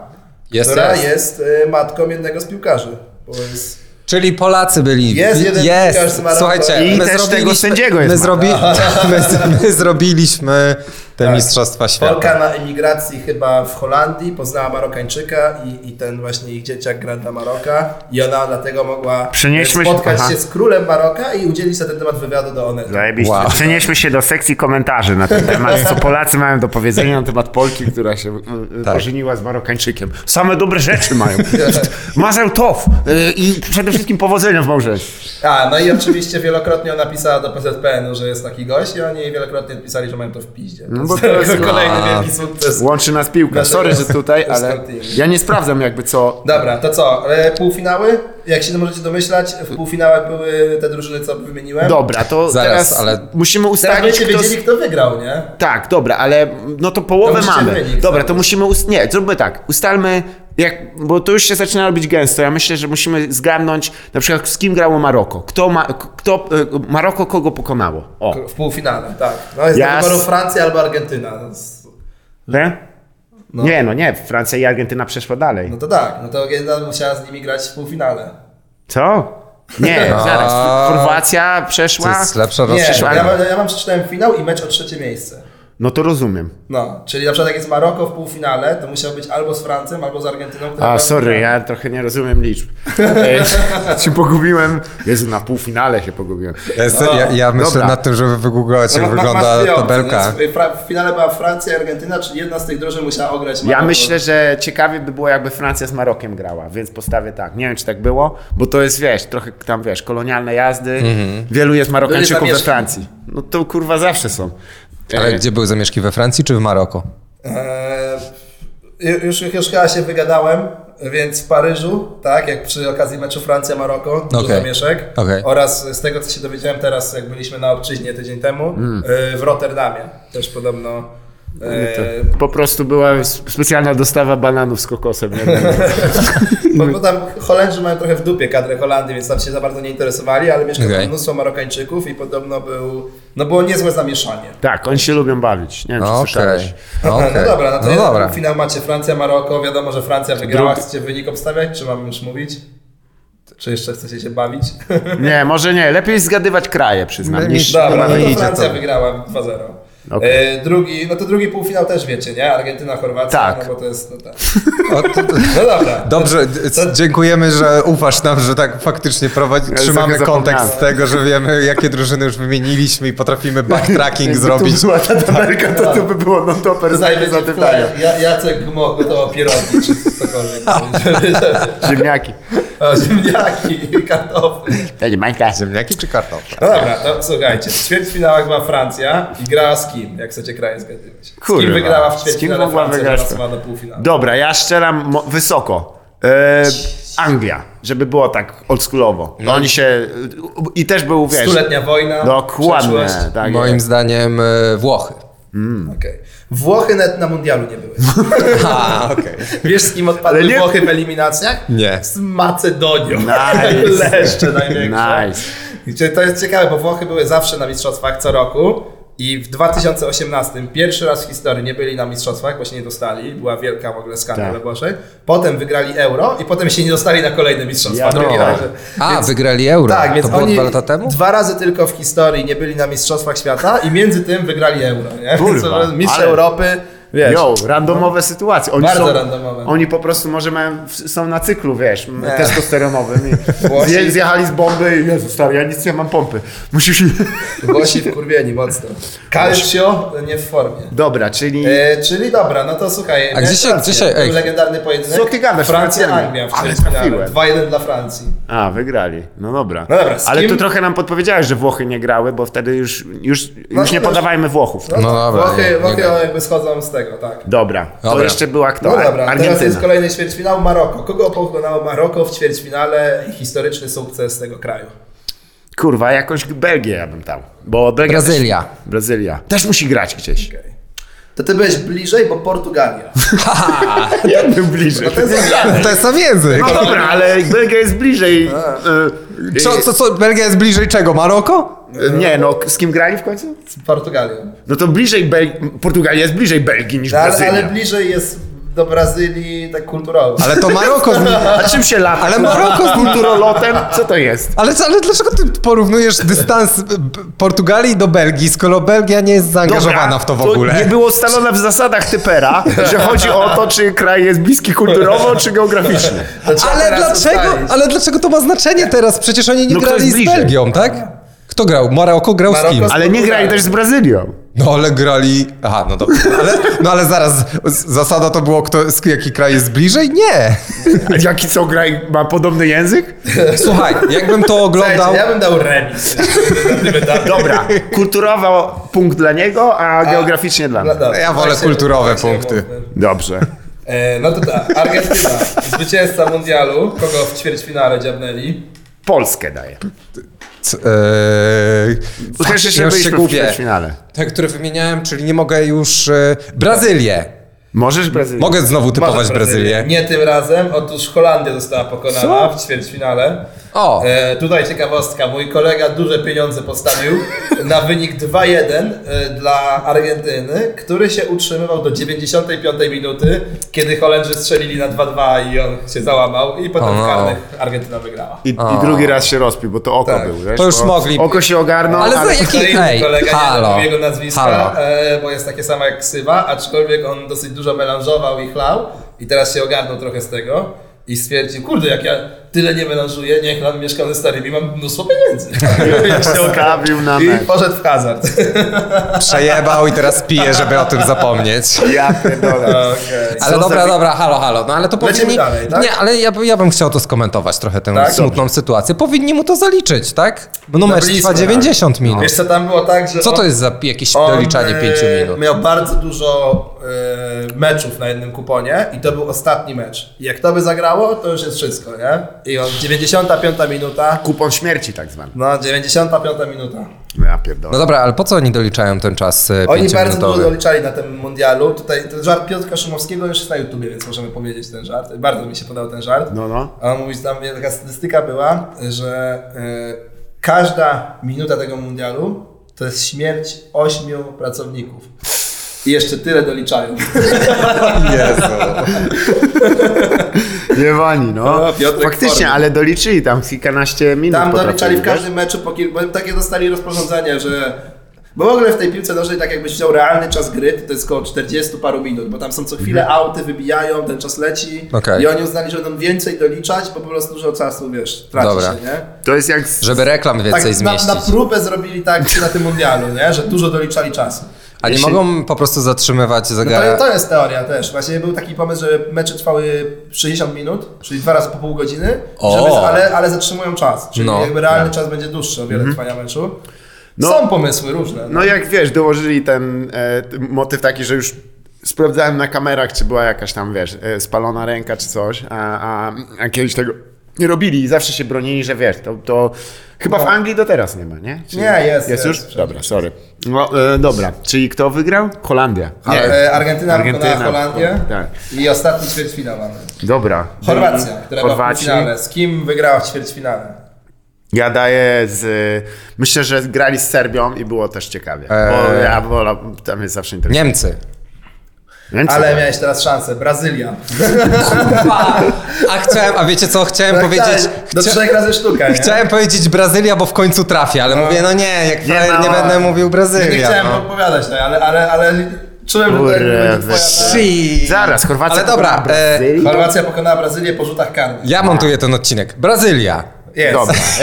Speaker 4: Jest,
Speaker 2: która
Speaker 4: jest.
Speaker 2: jest y, matką jednego z piłkarzy. Bo jest
Speaker 4: Czyli Polacy byli.
Speaker 2: Jest jeden piłkarz z
Speaker 4: jest.
Speaker 2: Maroku.
Speaker 4: Słuchajcie,
Speaker 3: I
Speaker 4: my
Speaker 3: też
Speaker 4: zrobiliśmy,
Speaker 3: tego sędziego jest
Speaker 4: my, zrobi, my, z- my zrobiliśmy te Mistrzostwa Świata.
Speaker 2: Tak. Polka na emigracji chyba w Holandii poznała Marokańczyka i, i ten właśnie ich dzieciak gra dla Maroka i ona dlatego mogła e,
Speaker 3: Przenieśmy się-
Speaker 2: spotkać
Speaker 3: aha.
Speaker 2: się, z królem Maroka i udzielić na ten temat wywiadu do Onetu.
Speaker 3: Zajebiście.
Speaker 4: Wow.
Speaker 3: Przenieśmy się do sekcji komentarzy na ten temat, co Polacy mają do powiedzenia na temat Polki, która się y, y,
Speaker 4: Tak.
Speaker 3: ożeniła z Marokańczykiem. Same dobre rzeczy mają. Mazel tov y, i przede wszystkim powodzenia w małżeństwie.
Speaker 2: A, no i oczywiście wielokrotnie ona pisała do PZPN-u, że jest taki gość i oni wielokrotnie pisali, że mają to w piździe. No
Speaker 3: bo to jest-
Speaker 2: kolejny
Speaker 4: A.
Speaker 2: wielki sukces.
Speaker 3: Łączy nas piłka. Sorry, że tutaj,
Speaker 2: To jest
Speaker 3: ale
Speaker 2: kontynuum.
Speaker 3: ja nie sprawdzam jakby co...
Speaker 2: Dobra, to co? e, Półfinały? Jak się możecie domyślać, w półfinałach były te drużyny, co wymieniłem.
Speaker 3: Dobra, to
Speaker 4: Zaraz,
Speaker 3: teraz
Speaker 4: ale- tak
Speaker 3: musimy
Speaker 2: Teraz
Speaker 3: ustalić,
Speaker 2: będziecie
Speaker 3: kto...
Speaker 2: wiedzieli, kto wygrał, nie?
Speaker 3: Tak, dobra, ale no to połowę
Speaker 2: To musicie
Speaker 3: mamy.
Speaker 2: wynik
Speaker 3: dobra,
Speaker 2: zrobić.
Speaker 3: to musimy. Ust... Nie, zróbmy tak. Ustalmy, jak... bo to już się zaczyna robić gęsto. Ja myślę, że musimy zgarnąć na przykład z kim grało Maroko. Kto ma... Kto... e, Maroko kogo pokonało? O.
Speaker 2: W półfinale, tak. No jest
Speaker 3: Jas-
Speaker 2: do wyboru Francja albo Argentyna. No, z-
Speaker 3: Nie?
Speaker 2: No.
Speaker 3: E? Nie, no nie, Francja i Argentyna przeszła dalej.
Speaker 2: No to tak, no to Argentyna musiała z nimi grać w półfinale.
Speaker 3: Co? Nie,
Speaker 4: A.
Speaker 3: zaraz. Chorwacja
Speaker 4: No. To
Speaker 3: przeszła.
Speaker 4: jest lepsza
Speaker 2: Nie,
Speaker 4: rozstrzyganie.
Speaker 2: ja, wam- ja wam przeczytałem finał i mecz o trzecie miejsce.
Speaker 3: No to rozumiem.
Speaker 2: No, czyli na przykład jak jest Maroko w półfinale, to musiał być albo z Francją, albo z Argentyną. która
Speaker 3: A,
Speaker 2: była-
Speaker 3: sorry, ja trochę nie rozumiem liczb. Ej, się pogubiłem. Jezu, na półfinale się pogubiłem.
Speaker 4: Ja, jestem, ja, ja myślę
Speaker 3: Dobra.
Speaker 4: nad tym, żeby wygooglować,
Speaker 2: No,
Speaker 4: jak
Speaker 2: ma- ma-
Speaker 4: wygląda
Speaker 2: masz dwie opcje,
Speaker 4: tabelka.
Speaker 2: no, fra- W finale była Francja i Argentyna, czyli jedna z tych drużyn musiała ograć
Speaker 3: Ja
Speaker 2: Maroko.
Speaker 3: myślę, że ciekawie by było, jakby Francja z Marokiem grała, więc postawię tak. Nie wiem, czy tak było, bo to jest, wiesz, trochę tam, wiesz, kolonialne jazdy.
Speaker 4: Mhm.
Speaker 3: Wielu jest Marokańczyków
Speaker 2: Były zamieszki.
Speaker 3: we Francji. No to kurwa zawsze są.
Speaker 4: Ale
Speaker 3: Ej,
Speaker 4: gdzie były zamieszki? We Francji czy w Maroku?
Speaker 2: Eee, ju- już, już chyba się wygadałem, więc w Paryżu, tak, jak przy okazji meczu Francja-Maroko, dużo
Speaker 4: Okej.
Speaker 2: zamieszek.
Speaker 4: Okej.
Speaker 2: Oraz z tego, co się dowiedziałem teraz, jak byliśmy na obczyźnie tydzień temu,
Speaker 4: Mm.
Speaker 2: eee, w Rotterdamie też podobno. eee,
Speaker 3: to E, Po prostu była s- specjalna dostawa bananów z kokosem. Nie wiem.
Speaker 2: bo, bo tam Holendrzy mają trochę w dupie kadrę Holandii, więc tam się za bardzo nie interesowali, ale mieszka
Speaker 4: Okej.
Speaker 2: tam mnóstwo Marokańczyków i podobno był, no było niezłe zamieszanie.
Speaker 3: tak, oni się lubią bawić. Nie wiem, czy
Speaker 4: No,
Speaker 3: słyszałeś.
Speaker 4: Okej. Okay.
Speaker 2: No dobra, no to
Speaker 4: no dobra.
Speaker 2: finał macie Francja-Maroko, wiadomo, że Francja wygrała.
Speaker 3: Drugi-
Speaker 2: Chcecie wynik obstawiać, czy mam już mówić? Czy jeszcze chcecie się bawić?
Speaker 3: Nie, może nie. Lepiej zgadywać kraje, przyznam,
Speaker 4: My-
Speaker 3: niż
Speaker 2: Dobra,
Speaker 3: mamy
Speaker 2: no to
Speaker 3: idzie
Speaker 2: Francja
Speaker 3: to.
Speaker 2: wygrała 2-0.
Speaker 3: Okej.
Speaker 2: E, drugi, no to drugi półfinał też wiecie, nie? Argentyna-Chorwacja,
Speaker 3: Tak.
Speaker 2: no bo to jest, no tak.
Speaker 4: O, to- to-
Speaker 2: No dobra.
Speaker 4: Dobrze, d-
Speaker 2: To-
Speaker 4: dziękujemy, że ufasz nam, że tak faktycznie prowadzi, trzymamy
Speaker 3: trochę
Speaker 4: kontekst
Speaker 3: zapomniałem.
Speaker 4: tego, że wiemy, jakie drużyny już wymieniliśmy i potrafimy backtracking
Speaker 3: Jakby
Speaker 4: zrobić.
Speaker 3: Tu była ta tabelka, to tu by było non-topper
Speaker 2: Zajmę
Speaker 3: za
Speaker 2: za
Speaker 3: za pytania.
Speaker 2: ja, Jacek Gmo gotował pierogi czy cokolwiek.
Speaker 3: Ziemniaki.
Speaker 2: O, Ziemniaki i kartofle.
Speaker 3: Będzie Minecraft.
Speaker 4: Ziemniaki czy kartofle?
Speaker 2: No dobra, to słuchajcie, w ćwierćfinałach była Francja i grała z kim, jak chcecie kraje zgadywać. Z
Speaker 3: Kurwa,
Speaker 2: kim wygrała w
Speaker 3: z kim
Speaker 2: ćwierćfinale
Speaker 3: mogła
Speaker 2: Francja,
Speaker 3: wygrać?
Speaker 2: awansowała do półfinału.
Speaker 3: Dobra, ja strzelam mo- wysoko. E, Anglia, żeby było tak oldschoolowo. No. Oni się... I też był, wiesz...
Speaker 2: Stuletnia wojna,
Speaker 3: Dokładnie.
Speaker 2: przeszłość.
Speaker 3: Tak
Speaker 4: Moim
Speaker 3: jest.
Speaker 4: zdaniem e, Włochy.
Speaker 3: Hmm.
Speaker 2: Okej. Włochy nawet na mundialu nie były.
Speaker 4: A, okej.
Speaker 2: Wiesz z kim odpadły
Speaker 3: Ale nie-
Speaker 2: Włochy w eliminacjach?
Speaker 4: Nie.
Speaker 2: Z Macedonią.
Speaker 3: Nice.
Speaker 2: Leszcze największe.
Speaker 3: Nice.
Speaker 2: Gdzie To jest ciekawe, bo Włochy były zawsze na mistrzostwach co roku. I w 2018 pierwszy raz w historii nie byli na mistrzostwach, bo się nie dostali. Była wielka w ogóle skandal
Speaker 3: Tak.
Speaker 2: we Włoszech. Potem wygrali euro i potem się nie dostali na kolejne mistrzostwa.
Speaker 3: Ja
Speaker 2: Drugi
Speaker 3: no.
Speaker 2: raz, że-
Speaker 4: A, wygrali euro.
Speaker 2: Tak, więc
Speaker 4: to było
Speaker 2: oni
Speaker 4: dwa lata temu?
Speaker 2: dwa razy tylko w historii nie byli na mistrzostwach świata i między tym wygrali euro. Nie?
Speaker 3: Kurwa,
Speaker 2: Co, Mistrz
Speaker 3: ale-
Speaker 2: Europy, wiesz.
Speaker 3: Yo, randomowe sytuacje. Oni
Speaker 2: Bardzo
Speaker 3: są,
Speaker 2: randomowe.
Speaker 3: Oni po prostu może mają, w- są na cyklu, wiesz, m-
Speaker 2: Nie.
Speaker 3: testosteronowym. I
Speaker 2: Włosi-
Speaker 3: zje, zjechali z bomby i Jezu, stary, ja nic nie mam pompy. Musisz...
Speaker 2: Włosi wkurwieni mocno. Calcio nie w formie.
Speaker 3: Dobra, czyli...
Speaker 2: E, czyli dobra, no to słuchaj.
Speaker 4: A
Speaker 2: miałeś
Speaker 4: gdzie się-
Speaker 2: rację.
Speaker 4: gdzie się-
Speaker 2: To
Speaker 4: ej.
Speaker 2: był legendarny pojedynek.
Speaker 3: Co ty gadasz,
Speaker 2: Francja,
Speaker 3: Francja,
Speaker 2: Anglia w
Speaker 3: ale
Speaker 2: ćwierćfinale.
Speaker 3: trafiłem.
Speaker 2: 2-1 dla Francji.
Speaker 3: A, wygrali. No dobra.
Speaker 2: No dobra, z
Speaker 3: Ale
Speaker 2: kim?
Speaker 3: tu trochę nam podpowiedziałeś, że Włochy nie grały, bo wtedy już, już,
Speaker 2: No
Speaker 3: już nie
Speaker 2: to-
Speaker 3: podawajmy Włochów.
Speaker 2: No,
Speaker 4: No
Speaker 2: to
Speaker 4: dobra, nie-
Speaker 2: Włochy,
Speaker 4: nie
Speaker 2: Włochy
Speaker 4: gadaj.
Speaker 2: jakby schodzą z tego, tak.
Speaker 3: Dobra. To
Speaker 4: Dobra.
Speaker 3: jeszcze była kto?
Speaker 2: No dobra, teraz jest
Speaker 3: Tak, Argentyna.
Speaker 2: kolejny ćwierćfinał Maroko. Kogo pokonało Maroko w ćwierćfinale i historyczny sukces tego kraju?
Speaker 3: Kurwa, jakąś Belgię ja bym tam. Bo Belgia
Speaker 4: Brazylia.
Speaker 3: Też, Brazylia. Też musi grać gdzieś.
Speaker 2: Okej. To ty byłeś bliżej, bo Portugalia.
Speaker 3: Ja bym bliżej.
Speaker 2: No to jest zagrane.
Speaker 4: To jest sam język.
Speaker 3: No dobra, ale Belgia jest bliżej. e,
Speaker 4: Co, co, co, Belgia jest bliżej czego? Maroko?
Speaker 3: e, Nie, no z kim grali w końcu?
Speaker 2: Portugalią.
Speaker 3: No to bliżej Belgii. Portugalia jest bliżej Belgii niż
Speaker 2: No, ale,
Speaker 3: Brazylia.
Speaker 2: ale bliżej jest do Brazylii tak kulturowo.
Speaker 4: Ale to Maroko... w-
Speaker 3: A czym się lata?
Speaker 4: Ale Maroko z
Speaker 3: kulturolotem? Co to jest?
Speaker 4: Ale, co- ale dlaczego ty porównujesz dystans b- b- Portugalii do Belgii, skoro Belgia nie jest zaangażowana w to w ogóle?
Speaker 3: nie było ustalone w zasadach typera, że chodzi o to, czy kraj jest bliski kulturowo, czy geograficznie.
Speaker 2: To trzeba
Speaker 4: Ale
Speaker 2: teraz
Speaker 4: dlaczego,
Speaker 2: ustalić.
Speaker 4: ale dlaczego to ma znaczenie teraz? Przecież oni nie
Speaker 3: No kto
Speaker 4: grali
Speaker 3: jest
Speaker 4: z
Speaker 3: bliżej?
Speaker 4: Belgią, tak? Kto grał? Maroko grał
Speaker 2: Maroko
Speaker 4: z kim?
Speaker 2: z-
Speaker 3: Ale nie grali też z Brazylią.
Speaker 4: No ale grali... Aha, no dobra. Ale, no ale zaraz, z- zasada to było, kto, z- jaki kraj jest bliżej? Nie.
Speaker 3: A jaki co kraj ma podobny język?
Speaker 4: Słuchaj, jakbym to oglądał...
Speaker 2: Słuchajcie, ja bym dał remis.
Speaker 3: Dobra, kulturowo punkt dla niego, a geograficznie dla mnie.
Speaker 2: No, dobra,
Speaker 4: Ja wolę
Speaker 2: właśnie-
Speaker 4: kulturowe
Speaker 2: właśnie
Speaker 4: punkty.
Speaker 2: mówmy.
Speaker 3: Dobrze.
Speaker 2: E, no to tak, Argentyna, zwycięzca mundialu, kogo w ćwierćfinale dziabnęli.
Speaker 3: Polskę daję.
Speaker 4: Eee,
Speaker 3: Bo też jeszcze
Speaker 4: już się
Speaker 3: byliśmy w
Speaker 4: gubię.
Speaker 3: finale.
Speaker 4: Te, które wymieniałem, czyli nie mogę już... E, Brazylię.
Speaker 3: Możesz Brazylię?
Speaker 4: Mogę znowu typować
Speaker 2: Może
Speaker 4: Brazylię.
Speaker 2: Nie tym razem, otóż Holandia została pokonana
Speaker 4: Co?
Speaker 2: w ćwierćfinale.
Speaker 4: O.
Speaker 2: E, tutaj ciekawostka. Mój kolega duże pieniądze postawił na wynik 2-1 e, dla Argentyny, który się utrzymywał do 95 minuty, kiedy Holendrzy strzelili na 2-2 i on się załamał i potem
Speaker 4: O no.
Speaker 2: w karnych Argentyna wygrała.
Speaker 3: I, I drugi raz się rozpił, bo to oko
Speaker 2: Tak.
Speaker 3: był, wiesz?
Speaker 4: To już
Speaker 3: bo
Speaker 4: mogli-
Speaker 3: Oko się ogarnął,
Speaker 4: Ale
Speaker 3: ale...
Speaker 4: za jaki-
Speaker 2: Kolejny
Speaker 4: Ej,
Speaker 2: kolega, nie
Speaker 4: halo,
Speaker 2: wiem jego nazwiska,
Speaker 4: halo.
Speaker 2: e, bo jest takie samo jak ksywa, aczkolwiek on dosyć dużo melanżował i chlał i teraz się ogarnął trochę z tego i stwierdził, kurde, jak ja tyle nie melanżuję, nie chlam, mieszkam ze starymi, mam mnóstwo pieniędzy.
Speaker 3: Stawił na
Speaker 2: I
Speaker 3: mecz.
Speaker 2: poszedł w hazard.
Speaker 4: Przejebał i teraz pije, żeby o tym zapomnieć.
Speaker 3: Ja pierdolę.
Speaker 2: Okej.
Speaker 4: Ale
Speaker 3: Co
Speaker 4: dobra,
Speaker 3: za-
Speaker 4: dobra, halo, halo. No ale to
Speaker 2: Lecimy
Speaker 4: powinni...
Speaker 2: dalej, tak?
Speaker 4: Nie, ale ja, by- ja bym chciał to skomentować trochę tę
Speaker 2: Tak?
Speaker 4: smutną sytuację. Powinni mu to zaliczyć, tak? Bo numer
Speaker 2: Byliśmy,
Speaker 4: trwa
Speaker 2: tak.
Speaker 4: 90 minut.
Speaker 2: Wiesz co, tam było tak, że
Speaker 4: No. Co to
Speaker 2: on-
Speaker 4: jest za jakieś
Speaker 2: on,
Speaker 4: doliczanie
Speaker 2: e,
Speaker 4: 5 minut?
Speaker 2: miał bardzo dużo e, meczów na jednym kuponie i to był ostatni mecz. I jak to by zagrało, to już jest wszystko, nie? I on 95 minuta,
Speaker 3: Kupon śmierci tak zwany.
Speaker 2: no 95 minuta.
Speaker 3: Ja
Speaker 4: No
Speaker 3: pierdolę.
Speaker 4: dobra, ale po co oni doliczają ten czas e,
Speaker 2: Oni bardzo dużo
Speaker 4: 5-minutowy?
Speaker 2: doliczali na tym mundialu. Tutaj ten żart Piotra Szumowskiego już jest na YouTubie, więc możemy powiedzieć ten żart. Bardzo mi się podał ten żart.
Speaker 3: No, no.
Speaker 2: A on mówi, tam taka statystyka była, że y, każda minuta tego mundialu to jest śmierć ośmiu pracowników. I jeszcze tyle doliczają.
Speaker 3: Jewani, no.
Speaker 2: No, Piotrek
Speaker 3: Faktycznie,
Speaker 2: formie.
Speaker 3: ale doliczyli tam kilkanaście minut.
Speaker 2: Tam
Speaker 3: potrafili,
Speaker 2: doliczali w
Speaker 3: wiesz?
Speaker 2: każdym meczu, po kilku, bo takie dostali rozporządzenie, że... Bo w ogóle w tej piłce nożnej, tak jakbyś wziął realny czas gry, to, to jest około 40 paru minut, bo tam są co chwilę auty, wybijają, ten czas leci
Speaker 4: Mhm. Okej.
Speaker 2: i oni uznali, że będą więcej doliczać, bo po prostu dużo czasu, wiesz, traci
Speaker 4: Dobra.
Speaker 2: się, nie?
Speaker 3: To jest jak... z-
Speaker 4: Żeby reklam
Speaker 2: Tak,
Speaker 4: więcej
Speaker 2: na, na
Speaker 4: zmieścić.
Speaker 2: próbę zrobili tak na tym mundialu, nie? że dużo doliczali czasu.
Speaker 4: A nie
Speaker 3: Jeśli-
Speaker 4: mogą po prostu zatrzymywać
Speaker 2: No to,
Speaker 4: zegara?
Speaker 2: to jest teoria też. Właśnie był taki pomysł, że mecze trwały 60 minut, czyli dwa razy po pół godziny,
Speaker 4: O.
Speaker 2: żeby, ale, ale zatrzymują czas. Czyli
Speaker 4: No.
Speaker 2: jakby realny czas będzie dłuższy o wiele trwania meczu.
Speaker 3: No.
Speaker 2: Są pomysły różne.
Speaker 3: No jak wiesz, dołożyli ten e, t- motyw taki, że już sprawdzałem na kamerach, czy była jakaś tam, wiesz, e, spalona ręka czy coś, a, a, a kiedyś tego nie robili i zawsze się bronili, że wiesz, to, to chyba w
Speaker 2: No.
Speaker 3: Anglii do teraz nie ma, nie? Czy-
Speaker 2: Nie, jest,
Speaker 3: Jest
Speaker 2: jest,
Speaker 3: już?
Speaker 2: wszędzie.
Speaker 3: Dobra, sorry. No, e, dobra, czyli kto wygrał? Holandia.
Speaker 2: Nie,
Speaker 3: Ale-
Speaker 2: e, Argentyna, Argentyna
Speaker 3: No Argentyna,
Speaker 2: Holandię
Speaker 3: tak.
Speaker 2: i ostatni ćwierćfinał mamy.
Speaker 3: Dobra. Mm,
Speaker 2: Chorwacja, która była w
Speaker 3: Chorwaci.
Speaker 2: finale. Z kim wygrała w ćwierćfinale?
Speaker 3: Ja daję z... Myślę, że grali z Serbią i było też ciekawie,
Speaker 2: E,
Speaker 3: bo
Speaker 4: Eee.
Speaker 3: ja wolę, tam jest zawsze interesujące.
Speaker 4: Niemcy.
Speaker 3: Niemcy.
Speaker 2: Ale miałeś teraz szansę. Brazylia.
Speaker 4: A chciałem, a wiecie co, chciałem powiedzieć...
Speaker 2: Tak, Do
Speaker 4: chcia-
Speaker 2: trzech razy sztuka, nie?
Speaker 4: Chciałem powiedzieć Brazylia, bo w końcu trafię, ale mówię, no nie, jak
Speaker 3: Nie
Speaker 4: nie, nie,
Speaker 3: ma-
Speaker 4: będę mówił
Speaker 2: Nie
Speaker 4: Brazylia.
Speaker 2: chciałem
Speaker 4: no.
Speaker 2: odpowiadać, tak, ale, ale, ale czułem, że to
Speaker 3: Kurde,
Speaker 2: będzie twoja...
Speaker 3: weź.
Speaker 4: Shit.
Speaker 3: Zaraz, Chorwacja
Speaker 4: Ale dobra,
Speaker 3: pokonała
Speaker 4: e,
Speaker 3: Brazylię?
Speaker 2: Chorwacja pokonała Brazylię po rzutach karnych.
Speaker 4: ja montuję ten odcinek. Brazylia.
Speaker 2: Jest.
Speaker 3: Dobra.
Speaker 4: Yes!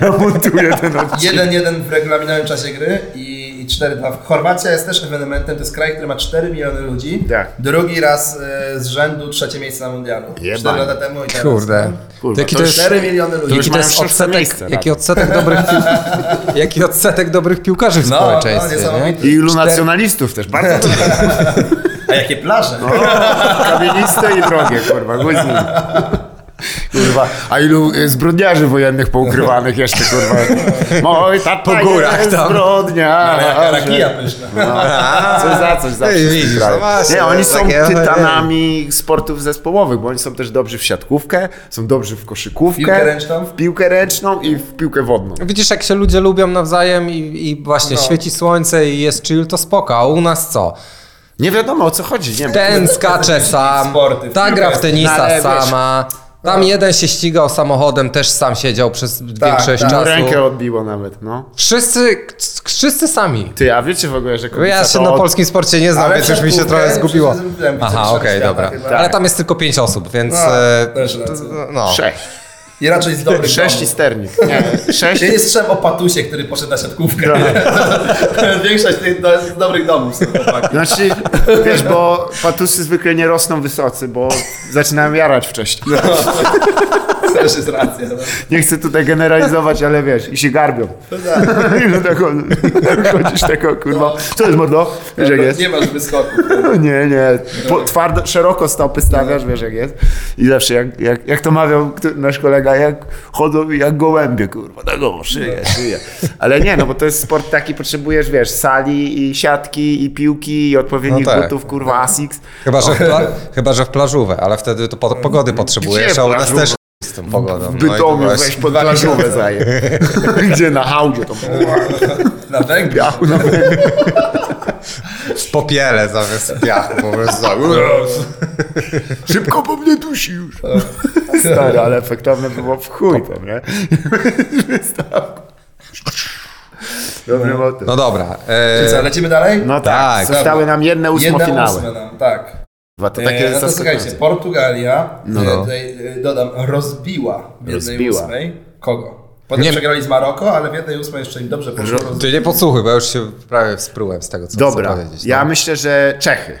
Speaker 3: Ja montuję ten odcinek.
Speaker 2: 1-1 w regulaminowym czasie gry i, i 4-2. Chorwacja jest też ewenementem, to jest kraj, który ma 4 miliony ludzi.
Speaker 3: Tak.
Speaker 2: Drugi raz e, z rzędu trzecie miejsce na mundialu.
Speaker 3: Jebanie.
Speaker 2: 4 lata temu i teraz. No,
Speaker 4: Kurde.
Speaker 3: Kurwa,
Speaker 4: To jaki
Speaker 3: to
Speaker 4: to
Speaker 3: już
Speaker 4: jest...
Speaker 2: 4 miliony ludzi.
Speaker 3: już
Speaker 4: Jaki to
Speaker 3: mają
Speaker 4: jest
Speaker 3: szóste
Speaker 4: odsetek,
Speaker 3: miejsce tak.
Speaker 4: jaki
Speaker 3: nawet.
Speaker 4: odsetek dobrych, pił- jaki odsetek dobrych piłkarzy w
Speaker 2: No, no,
Speaker 4: społeczeństwie, nie?
Speaker 2: niesamowite.
Speaker 3: I ilu nacjonalistów też, bardzo dużo.
Speaker 2: A jakie plaże?
Speaker 3: No, Kamieniste i drogie, kurwa, guzik. Kurwa, a ilu y, zbrodniarzy wojennych poukrywanych jeszcze, kurwa. Mój tata
Speaker 4: Po górach
Speaker 3: jest
Speaker 4: tam.
Speaker 3: zbrodnia.
Speaker 2: Jaka rakija pyszna.
Speaker 3: Coś za coś za
Speaker 4: Ej,
Speaker 3: wszystkich
Speaker 4: widzisz,
Speaker 3: krajów.
Speaker 4: no właśnie,
Speaker 3: No. Nie, oni
Speaker 4: jest
Speaker 3: są
Speaker 4: takie-
Speaker 3: tytanami sportów zespołowych, bo oni są też dobrzy w siatkówkę, są dobrzy w koszykówkę,
Speaker 2: Piłkę ręczną.
Speaker 3: w piłkę ręczną i w piłkę wodną.
Speaker 4: Widzisz, jak się ludzie lubią nawzajem i, i właśnie
Speaker 2: No.
Speaker 4: świeci słońce i jest chill, to spoko, a u nas co?
Speaker 3: Nie wiadomo o co chodzi, nie Tak, wiem.
Speaker 4: Ten skacze sam,
Speaker 2: sporty, w
Speaker 4: ta gra w
Speaker 2: piłkę.
Speaker 4: tenisa
Speaker 3: Ale wiesz-
Speaker 4: sama, tam jeden się ścigał samochodem, też sam siedział przez większość
Speaker 2: tak.
Speaker 3: No,
Speaker 4: czasu.
Speaker 3: rękę odbiło nawet, no.
Speaker 4: Wszyscy, wszyscy sami.
Speaker 3: Ty, a wiecie w ogóle, że kobieta
Speaker 4: Ja się
Speaker 3: to
Speaker 4: na
Speaker 3: od-
Speaker 4: polskim sporcie nie znam,
Speaker 2: Ale
Speaker 4: No, więc już mi się
Speaker 2: siatkówkę
Speaker 4: trochę zgubiło.
Speaker 2: przecież zrobiłem
Speaker 4: Aha,
Speaker 2: wicemistrzem
Speaker 4: okej,
Speaker 2: świata
Speaker 4: dobra.
Speaker 2: chyba.
Speaker 3: Tak.
Speaker 4: Ale tam jest tylko pięć osób, więc...
Speaker 2: tak. No,
Speaker 4: e,
Speaker 2: też racja.
Speaker 4: no.
Speaker 3: Sześć.
Speaker 2: I raczej z dobrych
Speaker 3: Sześć i
Speaker 2: domów.
Speaker 3: sternik. Nie, sześć.
Speaker 2: Ja nie słyszałem o Patusie, który poszedł na siatkówkę.
Speaker 3: No.
Speaker 2: Większość tych do, z dobrych domów są chłopaki.
Speaker 3: Znaczy, wiesz, bo patusy zwykle nie rosną wysocy, bo zaczynają jarać wcześniej.
Speaker 2: Też jest racja. No.
Speaker 3: Nie chcę tutaj generalizować, ale wiesz, i się garbią.
Speaker 4: No
Speaker 3: Ile tak chodzisz tego, kurwa. Co jest, mordo? Wiesz jak jest?
Speaker 2: Nie masz wyskoku.
Speaker 3: Nie, nie. Po, twardo, szeroko stopy stawiasz, wiesz jak jest. I zawsze, jak, jak, jak to mawiał kto- nasz kolega, jak chodzą jak gołębie, kurwa, tak o,
Speaker 4: No.
Speaker 3: szyję, szyję. Ale nie, no bo to jest sport taki, potrzebujesz, wiesz, sali i siatki i piłki i odpowiednich
Speaker 4: No tak.
Speaker 3: butów, kurwa, Asics.
Speaker 4: Chyba, że w pla- chyba, że w plażówę, ale wtedy to po- pogody potrzebujesz, a u nas
Speaker 3: plażówę?
Speaker 4: też z tą pogodą.
Speaker 3: W
Speaker 4: No i to
Speaker 3: Bytomiu
Speaker 4: właśnie-
Speaker 3: weź pod plażówę zaję. Gdzie na hałdzie to było.
Speaker 2: Na węglu.
Speaker 3: Piachu na
Speaker 4: W popiele zamiast piachu. po prostu tak.
Speaker 3: Szybko po mnie dusi już. Tak. Stary, ale efektowne było w chuj tam, nie? Wystawku. Dobry motyw.
Speaker 4: No dobra. e,
Speaker 2: Co, lecimy dalej?
Speaker 3: No
Speaker 4: tak.
Speaker 3: tak, zostały nam
Speaker 2: Jedna
Speaker 3: jedne ósmofinały.
Speaker 2: ósma nam, tak.
Speaker 3: Dwa, to
Speaker 2: Takie
Speaker 3: takie
Speaker 2: no to słuchajcie,
Speaker 3: zaskakujące.
Speaker 2: Portugalia,
Speaker 3: No.
Speaker 2: e, tutaj e, dodam, rozbiła w jednej
Speaker 3: Rozbiła.
Speaker 2: ósmej. Kogo? Potem
Speaker 4: Nie-
Speaker 2: przegrali z Maroko, ale w jednej ósmej jeszcze im dobrze poszło. Roz...
Speaker 4: Ty nie podsłuchuj, bo ja już się prawie sprułem z tego, co
Speaker 3: Dobra,
Speaker 4: chcę powiedzieć.
Speaker 2: no.
Speaker 4: no.
Speaker 3: ja myślę, że Czechy.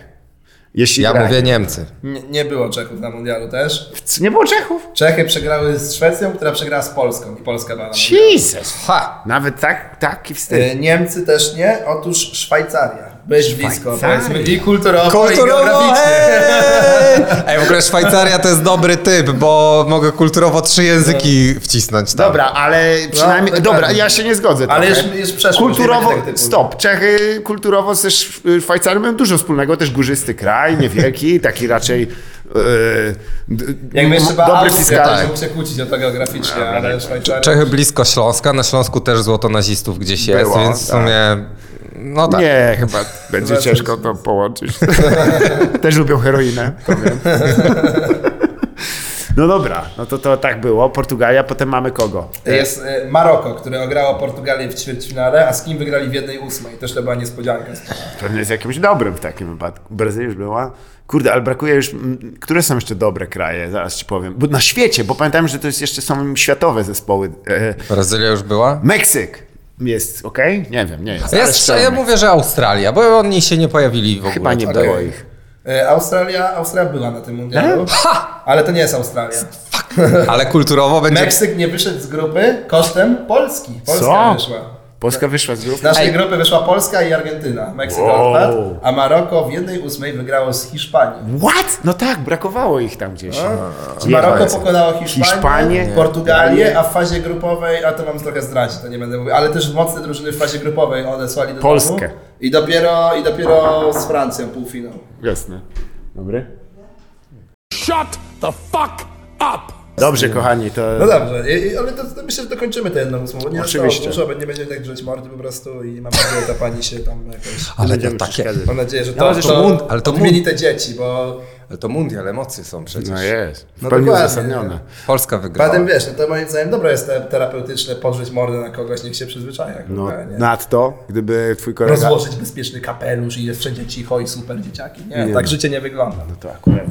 Speaker 3: Jeśli
Speaker 4: ja
Speaker 3: grają.
Speaker 4: mówię Niemcy.
Speaker 2: Nie, nie było Czechów na mundialu też.
Speaker 3: C- Nie było Czechów?
Speaker 2: Czechy przegrały z Szwecją, która przegrała z Polską i Polska była na mundialu.
Speaker 3: Jesus!
Speaker 4: Ha!
Speaker 3: Nawet tak, taki wstyd.
Speaker 2: E, Niemcy też nie, otóż Szwajcaria. Byłeś blisko,
Speaker 3: Szwajcaria.
Speaker 2: powiedzmy, i kulturowo, i geograficznie.
Speaker 4: ej! Ej, w ogóle Szwajcaria to jest dobry typ, bo mogę kulturowo trzy języki wcisnąć. Tam.
Speaker 3: Dobra, ale przynajmniej.
Speaker 2: dokładnie.
Speaker 3: dobra, ja się nie zgodzę.
Speaker 2: no, tak. Ale
Speaker 3: trochę.
Speaker 2: jest- jest przeszłość,
Speaker 3: Kulturowo.
Speaker 2: nie będzie tego typu.
Speaker 3: Stop. Czechy kulturowo ze Sz- y, Szwajcarią mają dużo wspólnego, też górzysty kraj, niewielki, taki raczej. Yy, d-
Speaker 2: Jakby jeszcze
Speaker 3: m-
Speaker 2: była
Speaker 3: dobry tak.
Speaker 2: Austria, to
Speaker 3: fiskalny.
Speaker 2: mógł się kłócić o to geograficznie, ale Szwajcaria...
Speaker 4: Czechy blisko Śląska, na Śląsku też złoto nazistów gdzieś jest,
Speaker 3: Było,
Speaker 4: więc w sumie... No tak.
Speaker 3: Nie, chyba będzie
Speaker 2: Zobaczymy.
Speaker 3: ciężko to połączyć. Też lubią heroinę, powiem. No dobra, no to, to tak było. Portugalia, potem mamy kogo?
Speaker 2: Jest e, Maroko, które ograło Portugalię w ćwierćfinale, a z kim wygrali w 1-8. Też to była niespodzianka.
Speaker 3: Pewnie jest jakimś dobrym w takim wypadku. Brazylia już była. Kurde, ale brakuje już. mm, Które są jeszcze dobre kraje? Zaraz ci powiem. Bo na świecie, bo pamiętam, że to jest jeszcze są światowe zespoły. E,
Speaker 4: Brazylia już była?
Speaker 3: Meksyk jest ok? Nie wiem, nie jest.
Speaker 4: Ja,
Speaker 3: ale
Speaker 4: strze-
Speaker 3: strzelmy.
Speaker 4: ja mówię, że Australia, bo oni się nie pojawili w ogóle.
Speaker 3: Chyba nie
Speaker 4: Tak.
Speaker 3: było
Speaker 2: Okej.
Speaker 3: ich.
Speaker 2: E, Australia, Australia była na tym
Speaker 3: E?
Speaker 2: mundialu, ale to nie jest Australia.
Speaker 4: Ale kulturowo będzie...
Speaker 2: Meksyk nie wyszedł z grupy kosztem Polski. Polska
Speaker 3: Co?
Speaker 2: wyszła.
Speaker 3: Polska wyszła z grupy.
Speaker 2: Z naszej grupy wyszła Polska i Argentyna. Meksyk
Speaker 3: Wow.
Speaker 2: odpadł, a Maroko w 1-8 wygrało z Hiszpanii.
Speaker 3: What? No tak, brakowało ich tam gdzieś.
Speaker 2: Czyli Maroko
Speaker 3: Jebać.
Speaker 2: pokonało Hiszpanię,
Speaker 3: Hiszpanię,
Speaker 2: Portugalię, a w fazie grupowej, a to wam trochę zdradzić, to nie będę mówił, ale też mocne drużyny w fazie grupowej odesłali do
Speaker 3: Polskę.
Speaker 2: domu. I dopiero, I dopiero z Francją półfinał.
Speaker 3: Jasne. Dobry? Shut the fuck up! Dobrze, kochani, to.
Speaker 2: No dobrze, i, i, ale to, to myślę, że dokończymy tę jedną ósmą, bo nie
Speaker 3: Oczywiście.
Speaker 2: Oczywiście. Dużo, nie będziemy tak drzeć mordy po prostu i mam nadzieję, że ta pani się tam jakoś...
Speaker 4: Ale to
Speaker 3: Będziemy
Speaker 4: takie...
Speaker 3: przeszkadzać.
Speaker 2: Mam nadzieję, że to,
Speaker 4: ale to mund- ale to
Speaker 2: odmieni
Speaker 4: mund-
Speaker 2: te dzieci, bo
Speaker 4: Ale to mundial, emocje są przecież.
Speaker 3: No jest.
Speaker 2: No
Speaker 3: Pełni
Speaker 2: dokładnie.
Speaker 3: uzasadnione.
Speaker 4: Polska wygrała.
Speaker 2: potem wiesz, no to moim zdaniem dobre jest te terapeutyczne podrzeć mordę na kogoś, niech się przyzwyczaja.
Speaker 3: No,
Speaker 2: kurwa, nie?
Speaker 3: nadto, gdyby twój kolega...
Speaker 2: Rozłożyć bezpieczny kapelusz i jest wszędzie cicho i super dzieciaki. Nie,
Speaker 3: Nie.
Speaker 2: tak życie nie wygląda.
Speaker 3: No to akurat,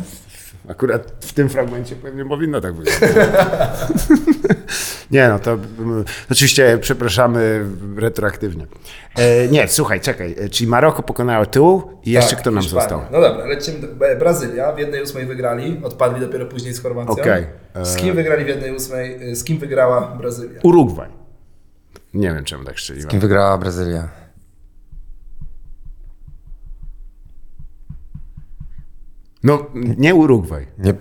Speaker 3: akurat w tym fragmencie pewnie powinno tak być. nie no, to mm, oczywiście przepraszamy retroaktywnie. E, nie, słuchaj, czekaj, e, czyli Maroko pokonało tył i jeszcze
Speaker 2: Tak,
Speaker 3: kto nam
Speaker 2: Hiszpania.
Speaker 3: został?
Speaker 2: No dobra, lecimy do Be- Brazylia. W 1-8 wygrali, odpadli dopiero później z Chorwacją.
Speaker 3: Okej. e,
Speaker 2: Z kim wygrali w 1-8, z kim wygrała Brazylia?
Speaker 3: Urugwaj. Nie wiem, czemu tak szczeliłem.
Speaker 4: Kim wygrała Brazylia?
Speaker 3: No, nie Urugwaj,
Speaker 4: Nie...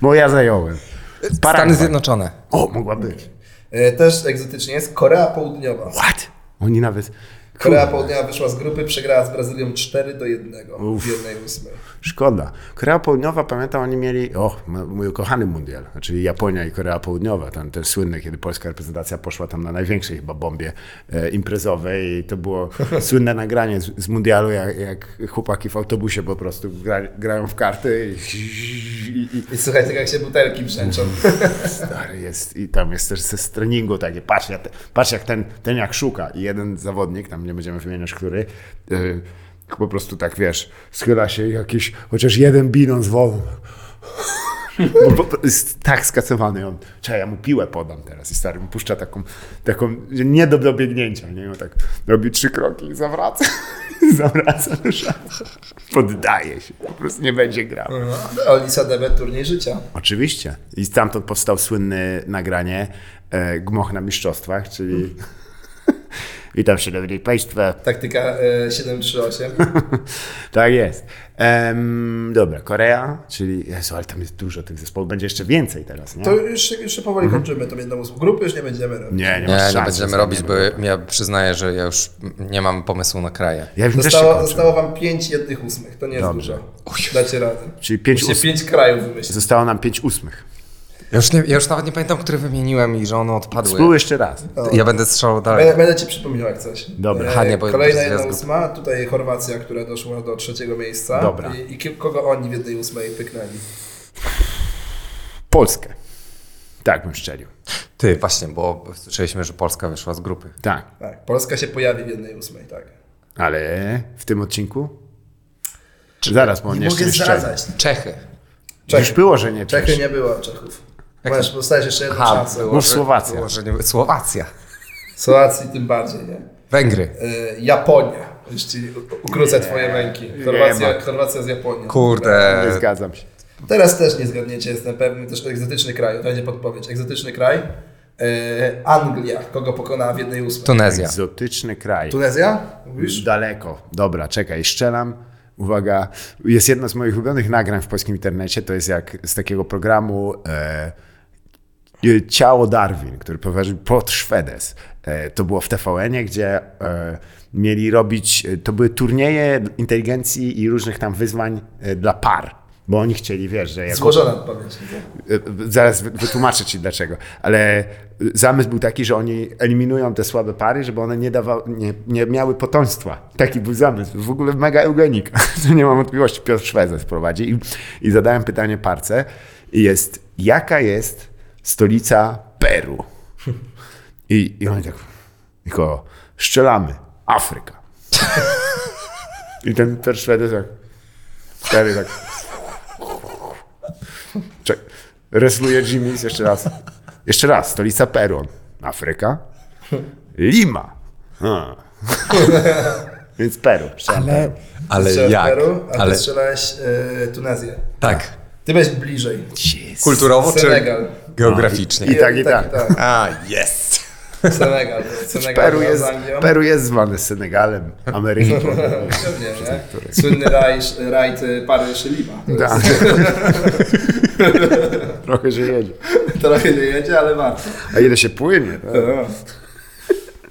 Speaker 3: bo ja zająłem.
Speaker 4: Stany
Speaker 3: Paragwaj.
Speaker 4: Zjednoczone.
Speaker 3: O, mogła być.
Speaker 2: E, Też egzotycznie jest Korea Południowa.
Speaker 3: What? Oni nawet...
Speaker 2: Korea Południowa wyszła z grupy, przegrała z Brazylią 4 do 1 w 1-8.
Speaker 3: Szkoda. Korea Południowa, pamiętam, oni mieli, o, m- mój ukochany mundial, czyli Japonia i Korea Południowa, tam też słynne, kiedy polska reprezentacja poszła tam na największej chyba bombie e, imprezowej i to było słynne nagranie z, z mundialu, jak, jak chłopaki w autobusie po prostu gra, grają w karty i, i, i
Speaker 2: I słuchaj, tak jak się butelki brzęczą.
Speaker 3: Mhm. stary jest, i tam jest też ze streningu takie, patrz, ja te, patrz jak ten, ten jak szuka i jeden zawodnik, tam nie będziemy wymieniać, który, yy, po prostu tak, wiesz, schyla się i jakiś, chociaż jeden binon z wodą. Bo, bo jest tak skacowany on. Czekaj, ja mu piłę podam teraz i stary mu puszcza taką, taką nie do dobiegnięcia, nie? On tak robi trzy kroki i zawraca. zawraca do szafy. Poddaje się, po prostu nie będzie grał.
Speaker 2: No, Olisa Debe, turniej życia.
Speaker 3: Oczywiście. I stamtąd powstał słynne nagranie e, Gmoch na mistrzostwach, czyli Witam szanowni państwa.
Speaker 2: Taktyka e, 738.
Speaker 3: Tak jest. Em, dobra, Korea, czyli... Jezu, ale tam jest dużo tych zespołów, będzie jeszcze więcej teraz, nie?
Speaker 2: To już, już się powoli
Speaker 3: Mhm.
Speaker 2: kończymy tą jedną z grupy, już nie będziemy robić.
Speaker 3: Nie, nie, ma
Speaker 4: Nie,
Speaker 3: szans,
Speaker 4: nie będziemy
Speaker 3: że
Speaker 4: robić, bo
Speaker 3: zostaniemy.
Speaker 4: ja przyznaję, że ja już nie mam pomysłu na kraje.
Speaker 3: Ja bym też się
Speaker 2: Zostało,
Speaker 3: kończył.
Speaker 2: zostało wam 5 jednych ósmych, to nie jest
Speaker 3: Dobrze.
Speaker 2: dużo. Dacie radę.
Speaker 3: Czyli pięć
Speaker 2: Musicie
Speaker 3: ós-
Speaker 2: 5 krajów wymyślić.
Speaker 3: Zostało nam pięć ósmych.
Speaker 4: Ja już, nie, ja już nawet nie pamiętam, który wymieniłem i że one odpadły.
Speaker 3: Spróbuj jeszcze raz.
Speaker 4: Ja będę strzelał dalej.
Speaker 2: Będę, będę ci przypominał jak coś.
Speaker 3: Dobra.
Speaker 2: E,
Speaker 4: Ha, nie, bo-
Speaker 2: Kolejna
Speaker 4: bo
Speaker 2: jedna
Speaker 4: jest-
Speaker 2: ósma, tutaj Chorwacja, która doszła do trzeciego miejsca.
Speaker 3: Dobra.
Speaker 2: I, i ki- kogo oni w jednej ósmej pyknęli?
Speaker 3: Polskę. Tak bym szczelił.
Speaker 4: Ty, właśnie, bo słyszeliśmy, że Polska wyszła z grupy.
Speaker 3: Tak.
Speaker 2: Tak, Polska się pojawi w jednej ósmej, tak.
Speaker 3: Ale w tym odcinku? Czy zaraz, bo on
Speaker 2: Nie
Speaker 3: jeszcze
Speaker 2: mogę
Speaker 3: nie szczelił.
Speaker 2: zdradzać.
Speaker 4: Czechy.
Speaker 3: Już było, że nie
Speaker 2: Czechy
Speaker 3: Czechy.
Speaker 2: nie było, Czechów. Masz, dostajesz jeszcze jedną
Speaker 4: Ha,
Speaker 2: szansę.
Speaker 4: było,
Speaker 3: Mów
Speaker 4: że-
Speaker 3: Słowacja.
Speaker 4: Było, że nie, Słowacja.
Speaker 2: Słowacji tym bardziej, nie?
Speaker 4: Węgry.
Speaker 2: Y, Japonia. Już ci u- ukrócę twoje ręki. Chorwacja,
Speaker 3: ma.
Speaker 2: Chorwacja z Japonią.
Speaker 4: Kurde.
Speaker 3: Nie zgadzam się.
Speaker 2: Teraz też nie zgadniecie, jestem pewny, też egzotyczny kraj, to będzie podpowiedź. Egzotyczny kraj. Y, Anglia, kogo pokonała w jednej ósmej.
Speaker 4: Tunezja.
Speaker 3: Egzotyczny kraj.
Speaker 2: Tunezja? Mówisz?
Speaker 3: Daleko. Dobra, czekaj, szczelam. Uwaga, jest jedno z moich ulubionych nagrań w polskim internecie, to jest jak z takiego programu e, e, Ciało Darwin, który prowadził pod Szwedes. E, to było w TVN-ie, gdzie e, mieli robić, e, to były turnieje inteligencji i różnych tam wyzwań e, dla par. Bo oni chcieli, wiesz, że jako
Speaker 2: Złożona odpowiedź.
Speaker 3: Y, Zaraz wy- wytłumaczę ci dlaczego, ale y, zamysł był taki, że oni eliminują te słabe pary, żeby one nie, dawały, nie, nie miały potomstwa. Taki był zamysł. W ogóle mega eugenik. To nie mam wątpliwości. Piotr Szwezes prowadzi. I, I zadałem pytanie parce. I jest, jaka jest stolica Peru? I, i oni tak, tylko strzelamy. Afryka. I ten Piotr Szwedez tak, stary tak, Czek. Resluje Jimmy's jeszcze raz. Jeszcze raz, stolica Peru. Afryka. Lima. Hmm. Więc Peru. Ale...
Speaker 4: Ale
Speaker 2: Strzelałeś
Speaker 4: jak?
Speaker 2: Peru, a
Speaker 4: Ale,
Speaker 2: ty strzelałeś y, Tunezję.
Speaker 4: tak.
Speaker 2: Ty byłeś bliżej.
Speaker 4: Kulturowo czy
Speaker 2: Senegal.
Speaker 4: geograficznie?
Speaker 3: I tak, i tak.
Speaker 4: A, jest.
Speaker 2: Senegal. Senegal
Speaker 3: Peru,
Speaker 2: wraz
Speaker 3: jest,
Speaker 2: z Anglią.
Speaker 3: Peru jest zwany Senegalem, Ameryką.
Speaker 2: Pewnie, nie? Słynny raj, rajd y, Paryż Lima. To
Speaker 3: Tak. Trochę się jedzie.
Speaker 2: jest- Trochę nie jedzie, ale warto.
Speaker 3: A ile się płynie? tak? No.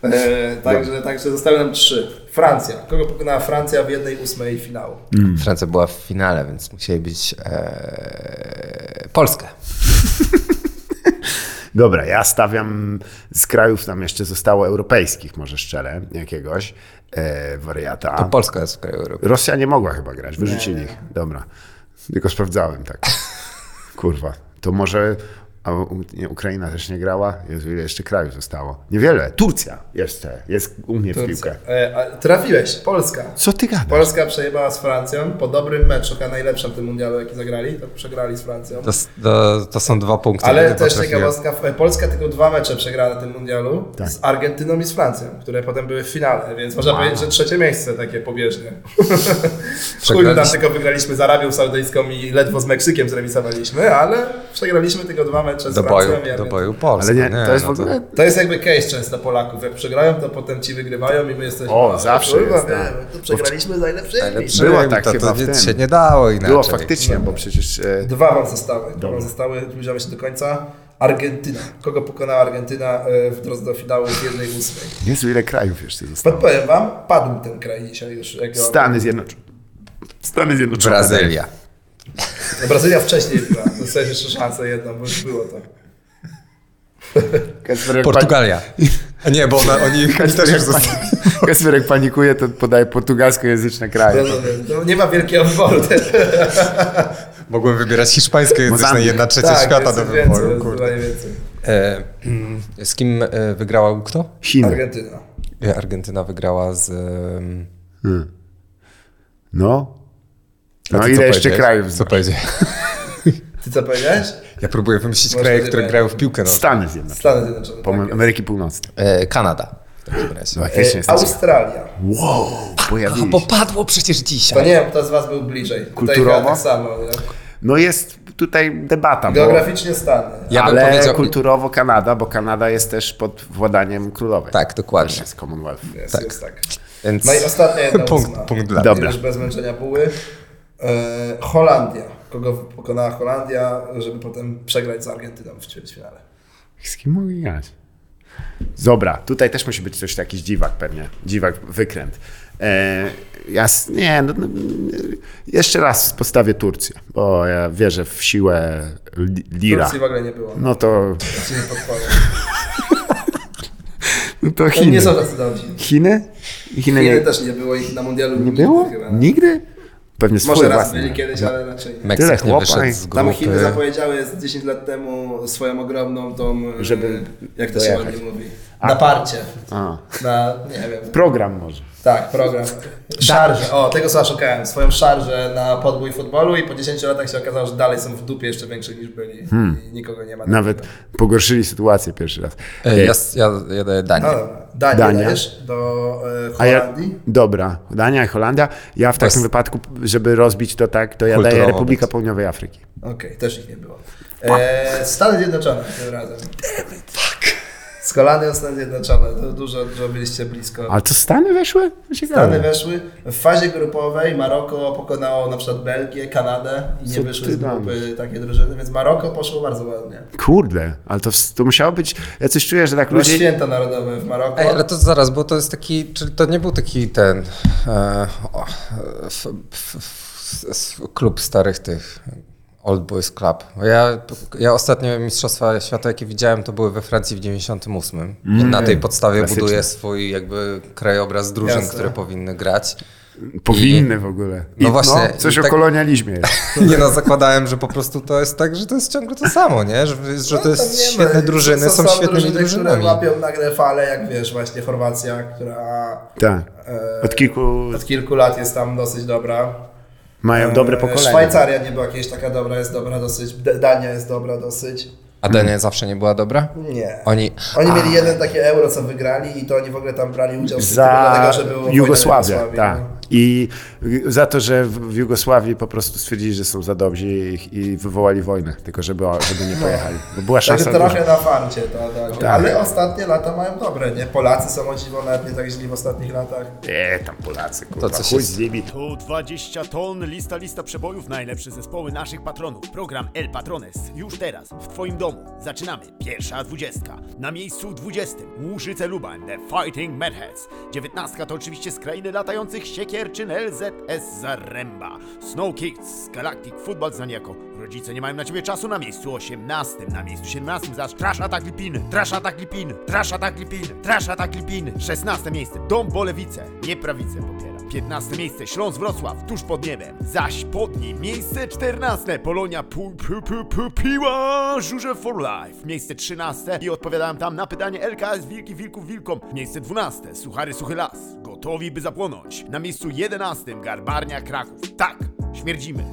Speaker 2: E, także, także zostały nam trzy. Francja. Kogo pokonała Francja w jednej ósmej finału?
Speaker 4: Francja była w finale, więc musieli być e, Polskę.
Speaker 3: Dobra, ja stawiam z krajów nam jeszcze zostało europejskich, może szczerze, jakiegoś e, wariata.
Speaker 4: Polska jest w kraju Europy.
Speaker 3: Rosja nie mogła chyba grać, wyrzucili ich. Dobra. Tylko sprawdzałem tak. Kurwa. To może a u, nie, Ukraina też nie grała? Jezu, ile jeszcze krajów zostało? Niewiele. Turcja jeszcze jest u mnie w piłkę.
Speaker 2: E, a trafiłeś. Polska.
Speaker 3: Co ty gadasz?
Speaker 2: Polska przejebała z Francją po dobrym meczu, chyba najlepszym w tym mundialu, jaki zagrali, to przegrali z Francją.
Speaker 4: To, s- to, to są dwa punkty.
Speaker 2: Ale
Speaker 4: które
Speaker 2: też
Speaker 4: potrafiłem.
Speaker 2: ciekawostka, e, Polska tylko dwa mecze przegrała na tym mundialu
Speaker 4: Tak.
Speaker 2: z Argentyną i z Francją, które potem były w finale, więc można powiedzieć, że trzecie miejsce takie pobieżne. Chuj tam
Speaker 4: Przegraliśmy.
Speaker 2: tylko wygraliśmy z Arabią Saudyjską i ledwo z Meksykiem zremisowaliśmy, ale przegraliśmy tylko dwa mecze z
Speaker 4: Do
Speaker 2: Francją.
Speaker 4: boju,
Speaker 2: i Argentyną.
Speaker 4: do boju Polska.
Speaker 3: Ale nie, to jest
Speaker 4: no
Speaker 3: w ogóle...
Speaker 2: To jest jakby case często Polaków, jak przegrają, to potem ci wygrywają i my jesteśmy...
Speaker 3: O, zawsze
Speaker 2: kurwa,
Speaker 3: jest,
Speaker 2: nie, no
Speaker 3: tak.
Speaker 2: To przegraliśmy z najlepszymi.
Speaker 4: Przy-
Speaker 3: Było tak
Speaker 4: to,
Speaker 3: chyba
Speaker 4: to
Speaker 3: w
Speaker 4: nie-
Speaker 3: tym.
Speaker 4: się nie dało inaczej.
Speaker 3: Było faktycznie, bo przecież... E,
Speaker 2: Dwa wam zostały. Dwa wam zostały, zbliżamy się do końca. Argentyna. Kogo pokonała Argentyna e, w drodze do finału w 1-8?
Speaker 3: Jezu, ile krajów jeszcze zostało?
Speaker 2: Podpowiem wam, padł ten kraj dzisiaj już. jak-
Speaker 3: Stany Zjednoczone. Stany Zjednoczone.
Speaker 4: Brazylia.
Speaker 2: No, Brazylia wcześniej była. Dostałeś jeszcze szansę jedną, bo już było tak. to.
Speaker 3: Kacperek
Speaker 4: Portugalia. A nie, bo ona, oni, oni też już zostali.
Speaker 3: Pani... Kacperek panikuje, to podaje portugalskojęzyczne kraje.
Speaker 2: Rozumiem. No, nie ma wielkiego wyboru też.
Speaker 4: Mogłem wybierać hiszpańskie języczne
Speaker 3: Mozambik.
Speaker 4: jedna trzecia świata do
Speaker 2: Tak, jest więcej,
Speaker 4: wyboru.
Speaker 2: jest
Speaker 4: Kurde.
Speaker 2: zdecydowanie więcej.
Speaker 4: E, mm, z kim e, wygrała kto?
Speaker 3: Chiny.
Speaker 2: Argentyna.
Speaker 4: E, Argentyna wygrała z... e, em,
Speaker 3: No.
Speaker 4: a
Speaker 3: No
Speaker 4: ty co
Speaker 3: ile jeszcze
Speaker 4: powiedziałeś?
Speaker 3: krajów?
Speaker 4: Co powiedzieć?
Speaker 2: Ty co powiedziałeś?
Speaker 4: Ja próbuję wymyślić
Speaker 2: Może
Speaker 4: kraje,
Speaker 2: nie
Speaker 4: które
Speaker 2: wiem.
Speaker 4: grają w piłkę nożną.
Speaker 3: Stany Zjednoczone.
Speaker 2: Stany Zjednoczone.
Speaker 3: Pom-
Speaker 2: Tak.
Speaker 3: Ameryki Północnej.
Speaker 4: E, Kanada. W takim razie.
Speaker 3: Faktycznie
Speaker 2: E,
Speaker 3: jesteśmy.
Speaker 2: Australia.
Speaker 3: Wow,
Speaker 4: A,
Speaker 3: pojawili
Speaker 4: bo
Speaker 3: się.
Speaker 4: padło przecież
Speaker 2: To
Speaker 4: dzisiaj.
Speaker 2: nie wiem, kto z was był bliżej. Tutaj
Speaker 3: Kulturowo?
Speaker 2: chyba tak samo. Nie?
Speaker 3: No jest tutaj debata. bo-
Speaker 2: Geograficznie Stany.
Speaker 4: Ja bym
Speaker 3: ale
Speaker 4: powiedział-
Speaker 3: kulturowo Kanada, bo Kanada jest też pod władaniem królowej.
Speaker 4: Tak, dokładnie.
Speaker 3: Też jest Commonwealth.
Speaker 2: Jest,
Speaker 4: tak.
Speaker 2: jest tak.
Speaker 4: Więc
Speaker 2: No i ostatnia jedna
Speaker 4: punkt,
Speaker 2: ósma.
Speaker 4: punkt dla
Speaker 3: Dobra.
Speaker 4: mnie.
Speaker 2: Dobra. Już bez męczenia buły. E, Holandia. Kogo pokonała Holandia, żeby potem przegrać z Argentyną w ćwierćfinale.
Speaker 3: Tak. Z kim mogę grać? Dobra, tutaj też musi być coś jakiś dziwak pewnie. Dziwak, wykręt. E, ja, s- nie, no, no, jeszcze raz postawię Turcję, bo ja wierzę w siłę li, lira.
Speaker 2: Turcji w ogóle nie było.
Speaker 3: No to,
Speaker 2: Turcji nie podpowiem.
Speaker 3: no to
Speaker 2: To
Speaker 3: Chiny.
Speaker 2: nie są tacy dobrzy.
Speaker 3: Chiny? Chiny,
Speaker 2: Chiny
Speaker 3: nie,
Speaker 2: też nie było, ich na mundialu
Speaker 3: nie było?
Speaker 2: Chyba.
Speaker 3: Nigdy? Pewnie swój
Speaker 2: Może raz
Speaker 3: własny.
Speaker 2: byli kiedyś, ale raczej nie.
Speaker 3: Tyle
Speaker 4: Meksyk nie
Speaker 3: chłopa i-
Speaker 4: wyszedł z
Speaker 2: Tam
Speaker 4: grupy.
Speaker 2: Chiny zapowiedziały z 10 lat temu swoją ogromną tą, e,
Speaker 3: Żeby
Speaker 2: jak to się
Speaker 3: dojechać.
Speaker 2: ładnie mówi, naparcie.
Speaker 3: A,
Speaker 2: Na, nie wiem,
Speaker 3: program może.
Speaker 2: tak, program. Szarże, o, tego słowa szukałem, swoją szarżę na podbój futbolu i po 10 latach się okazało, że dalej są w dupie jeszcze większych niż byli i nikogo nie ma.
Speaker 3: Hmm. Nawet pogorszyli sytuację pierwszy raz.
Speaker 4: E, Ja, ja, ja daję Danię.
Speaker 2: No dobra, Danię
Speaker 3: Dania.
Speaker 2: dajesz do e,
Speaker 3: A ja,
Speaker 2: Holandii?
Speaker 3: dobra, Dania i Holandia. Ja w takim wypadku, żeby rozbić to tak, to ja
Speaker 4: Kulturowo
Speaker 3: daję Republika
Speaker 4: będzie.
Speaker 3: Południowej Afryki.
Speaker 2: Okej, też ich nie było. E, Stany Zjednoczone tym razem. Z Holandią Stany Zjednoczone, to dużo, dużo byliście blisko.
Speaker 3: Ale to Stany weszły?
Speaker 2: Stany
Speaker 3: Ciekawe.
Speaker 2: weszły. W fazie grupowej Maroko pokonało na przykład Belgię, Kanadę i nie
Speaker 3: Co
Speaker 2: wyszły
Speaker 3: ty
Speaker 2: z grupy takie drużyny, więc Maroko poszło bardzo ładnie.
Speaker 3: Kurde, ale to, w- to musiało być, ja coś czuję, że tak
Speaker 2: Były
Speaker 3: ludzie...
Speaker 2: święta narodowe w Maroko.
Speaker 4: Ej, ale to zaraz, bo to jest taki, czyli to nie był taki ten e, o, e, f, f, f, s- klub starych tych Old Boys Club. Bo Ja, ja ostatnio Mistrzostwa Świata, jakie widziałem, to były we Francji w 98.
Speaker 2: Mm.
Speaker 4: Na tej podstawie
Speaker 3: Klasyczne.
Speaker 4: buduję swój jakby krajobraz drużyn,
Speaker 2: Jasne.
Speaker 4: które powinny grać.
Speaker 3: Powinny w ogóle. I,
Speaker 4: No właśnie,
Speaker 3: No, coś
Speaker 4: i
Speaker 3: o
Speaker 4: tak-
Speaker 3: kolonializmie jest.
Speaker 4: Nie no, zakładałem, że po prostu to jest tak, że to jest ciągle to samo, nie? Że, że to
Speaker 2: Tam
Speaker 4: jest
Speaker 2: nie ma-
Speaker 4: świetne drużyny, są świetnymi
Speaker 2: Które
Speaker 4: drużynami.
Speaker 2: łapią nagle fale, jak wiesz, właśnie Chorwacja, która
Speaker 3: Tak.
Speaker 2: e,
Speaker 3: Od kilku
Speaker 2: od kilku lat jest tam dosyć dobra.
Speaker 3: mają dobre
Speaker 2: E,
Speaker 3: pokolenie.
Speaker 2: Szwajcaria nie była kiedyś taka dobra, jest dobra dosyć. D- Dania jest dobra dosyć.
Speaker 4: A Dania zawsze nie była dobra?
Speaker 2: Nie.
Speaker 4: Oni,
Speaker 2: Oni mieli jeden takie euro, co wygrali i to oni w ogóle tam brali udział w tym tylko
Speaker 3: Za
Speaker 2: dlatego, że było
Speaker 3: Jugosławię, tak.
Speaker 2: Tak.
Speaker 3: I za to, że w w Jugosławii po prostu stwierdzili, że są za dobrzy i, i wywołali wojnę, tylko żeby, żeby nie pojechali. Bo była
Speaker 2: Także
Speaker 3: szansa duża.
Speaker 2: Tak,
Speaker 3: Tak.
Speaker 2: trochę na farcie to Dania. Ale ostatnie lata mają dobre, nie? Polacy są o dziwo nawet nie tak źli w ostatnich latach.
Speaker 3: Nie, E, tam Polacy, kurwa,
Speaker 4: co się
Speaker 3: chuj
Speaker 4: z-
Speaker 3: z nimi.
Speaker 5: Tu 20 ton, lista, lista przebojów, najlepsze zespoły naszych patronów. Program El Patrones już teraz, w Twoim domu. Zaczynamy. Pierwsza dwudziestka. Na miejscu dwudziestym Łużyce Lubań, The Fighting Madheads. Dziewiętnastka to oczywiście z krainy latających siekier, czyn LZS Zaremba. Snow Kids, Galactic Football znani jako Rodzice nie mają na Ciebie czasu na miejscu osiemnastym. Na miejscu siedemnastym zaś Trasza Tak Lipiny, Trasza Tak Lipiny, Trasza Tak Lipiny, Trasza Tak Lipiny. Szesnaste miejsce, Dom Bolewice, nie prawice popiera. 15 miejsce Śląsk Wrocław, tuż pod niebem. Zaś pod nim miejsce 14 Polonia pu, pu, pu, pu, Piła Żurze for Life. Miejsce 13 i odpowiadałem tam na pytanie LKS Wilki Wilków Wilkom. Miejsce 12 Suchary Suchy Las, gotowi by zapłonąć. Na miejscu 11 Garbarnia Kraków. Tak, śmierdzimy.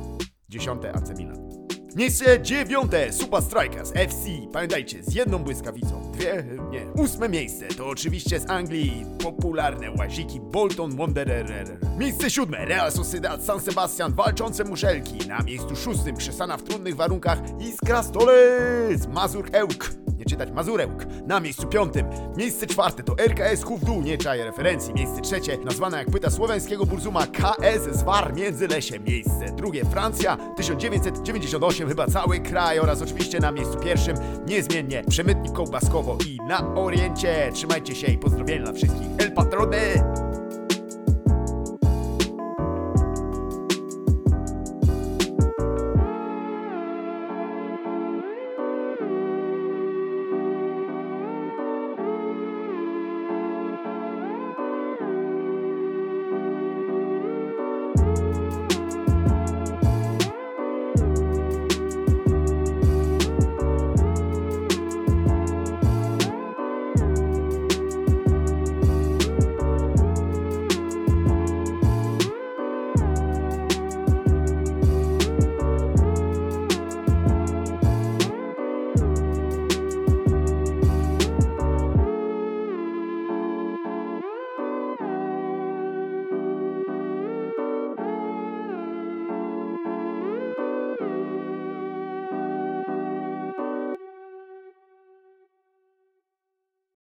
Speaker 5: 10 AC Milan. Miejsce dziewiąte, Super Strikers FC. Pamiętajcie, z jedną błyskawicą. Dwie, nie. Ósme miejsce to oczywiście z Anglii popularne łaziki Bolton Wanderer. Miejsce siódme, Real Sociedad San Sebastian walczące muszelki. Na miejscu szóstym, krzesana w trudnych warunkach Iskra Stolec, Mazur Ełk. Nie czytać Mazurełk. Na miejscu piątym. Miejsce czwarte to RKS Huf Dół, nie czaję referencji. Miejsce trzecie, nazwana jak płyta słowiańskiego burzuma KS z War Międzylesie. Miejsce drugie Francja 1998, chyba cały kraj oraz oczywiście na miejscu pierwszym niezmiennie przemytnik kołbaskowo i na Oriencie. Trzymajcie się i pozdrowienia dla wszystkich. El Patrone!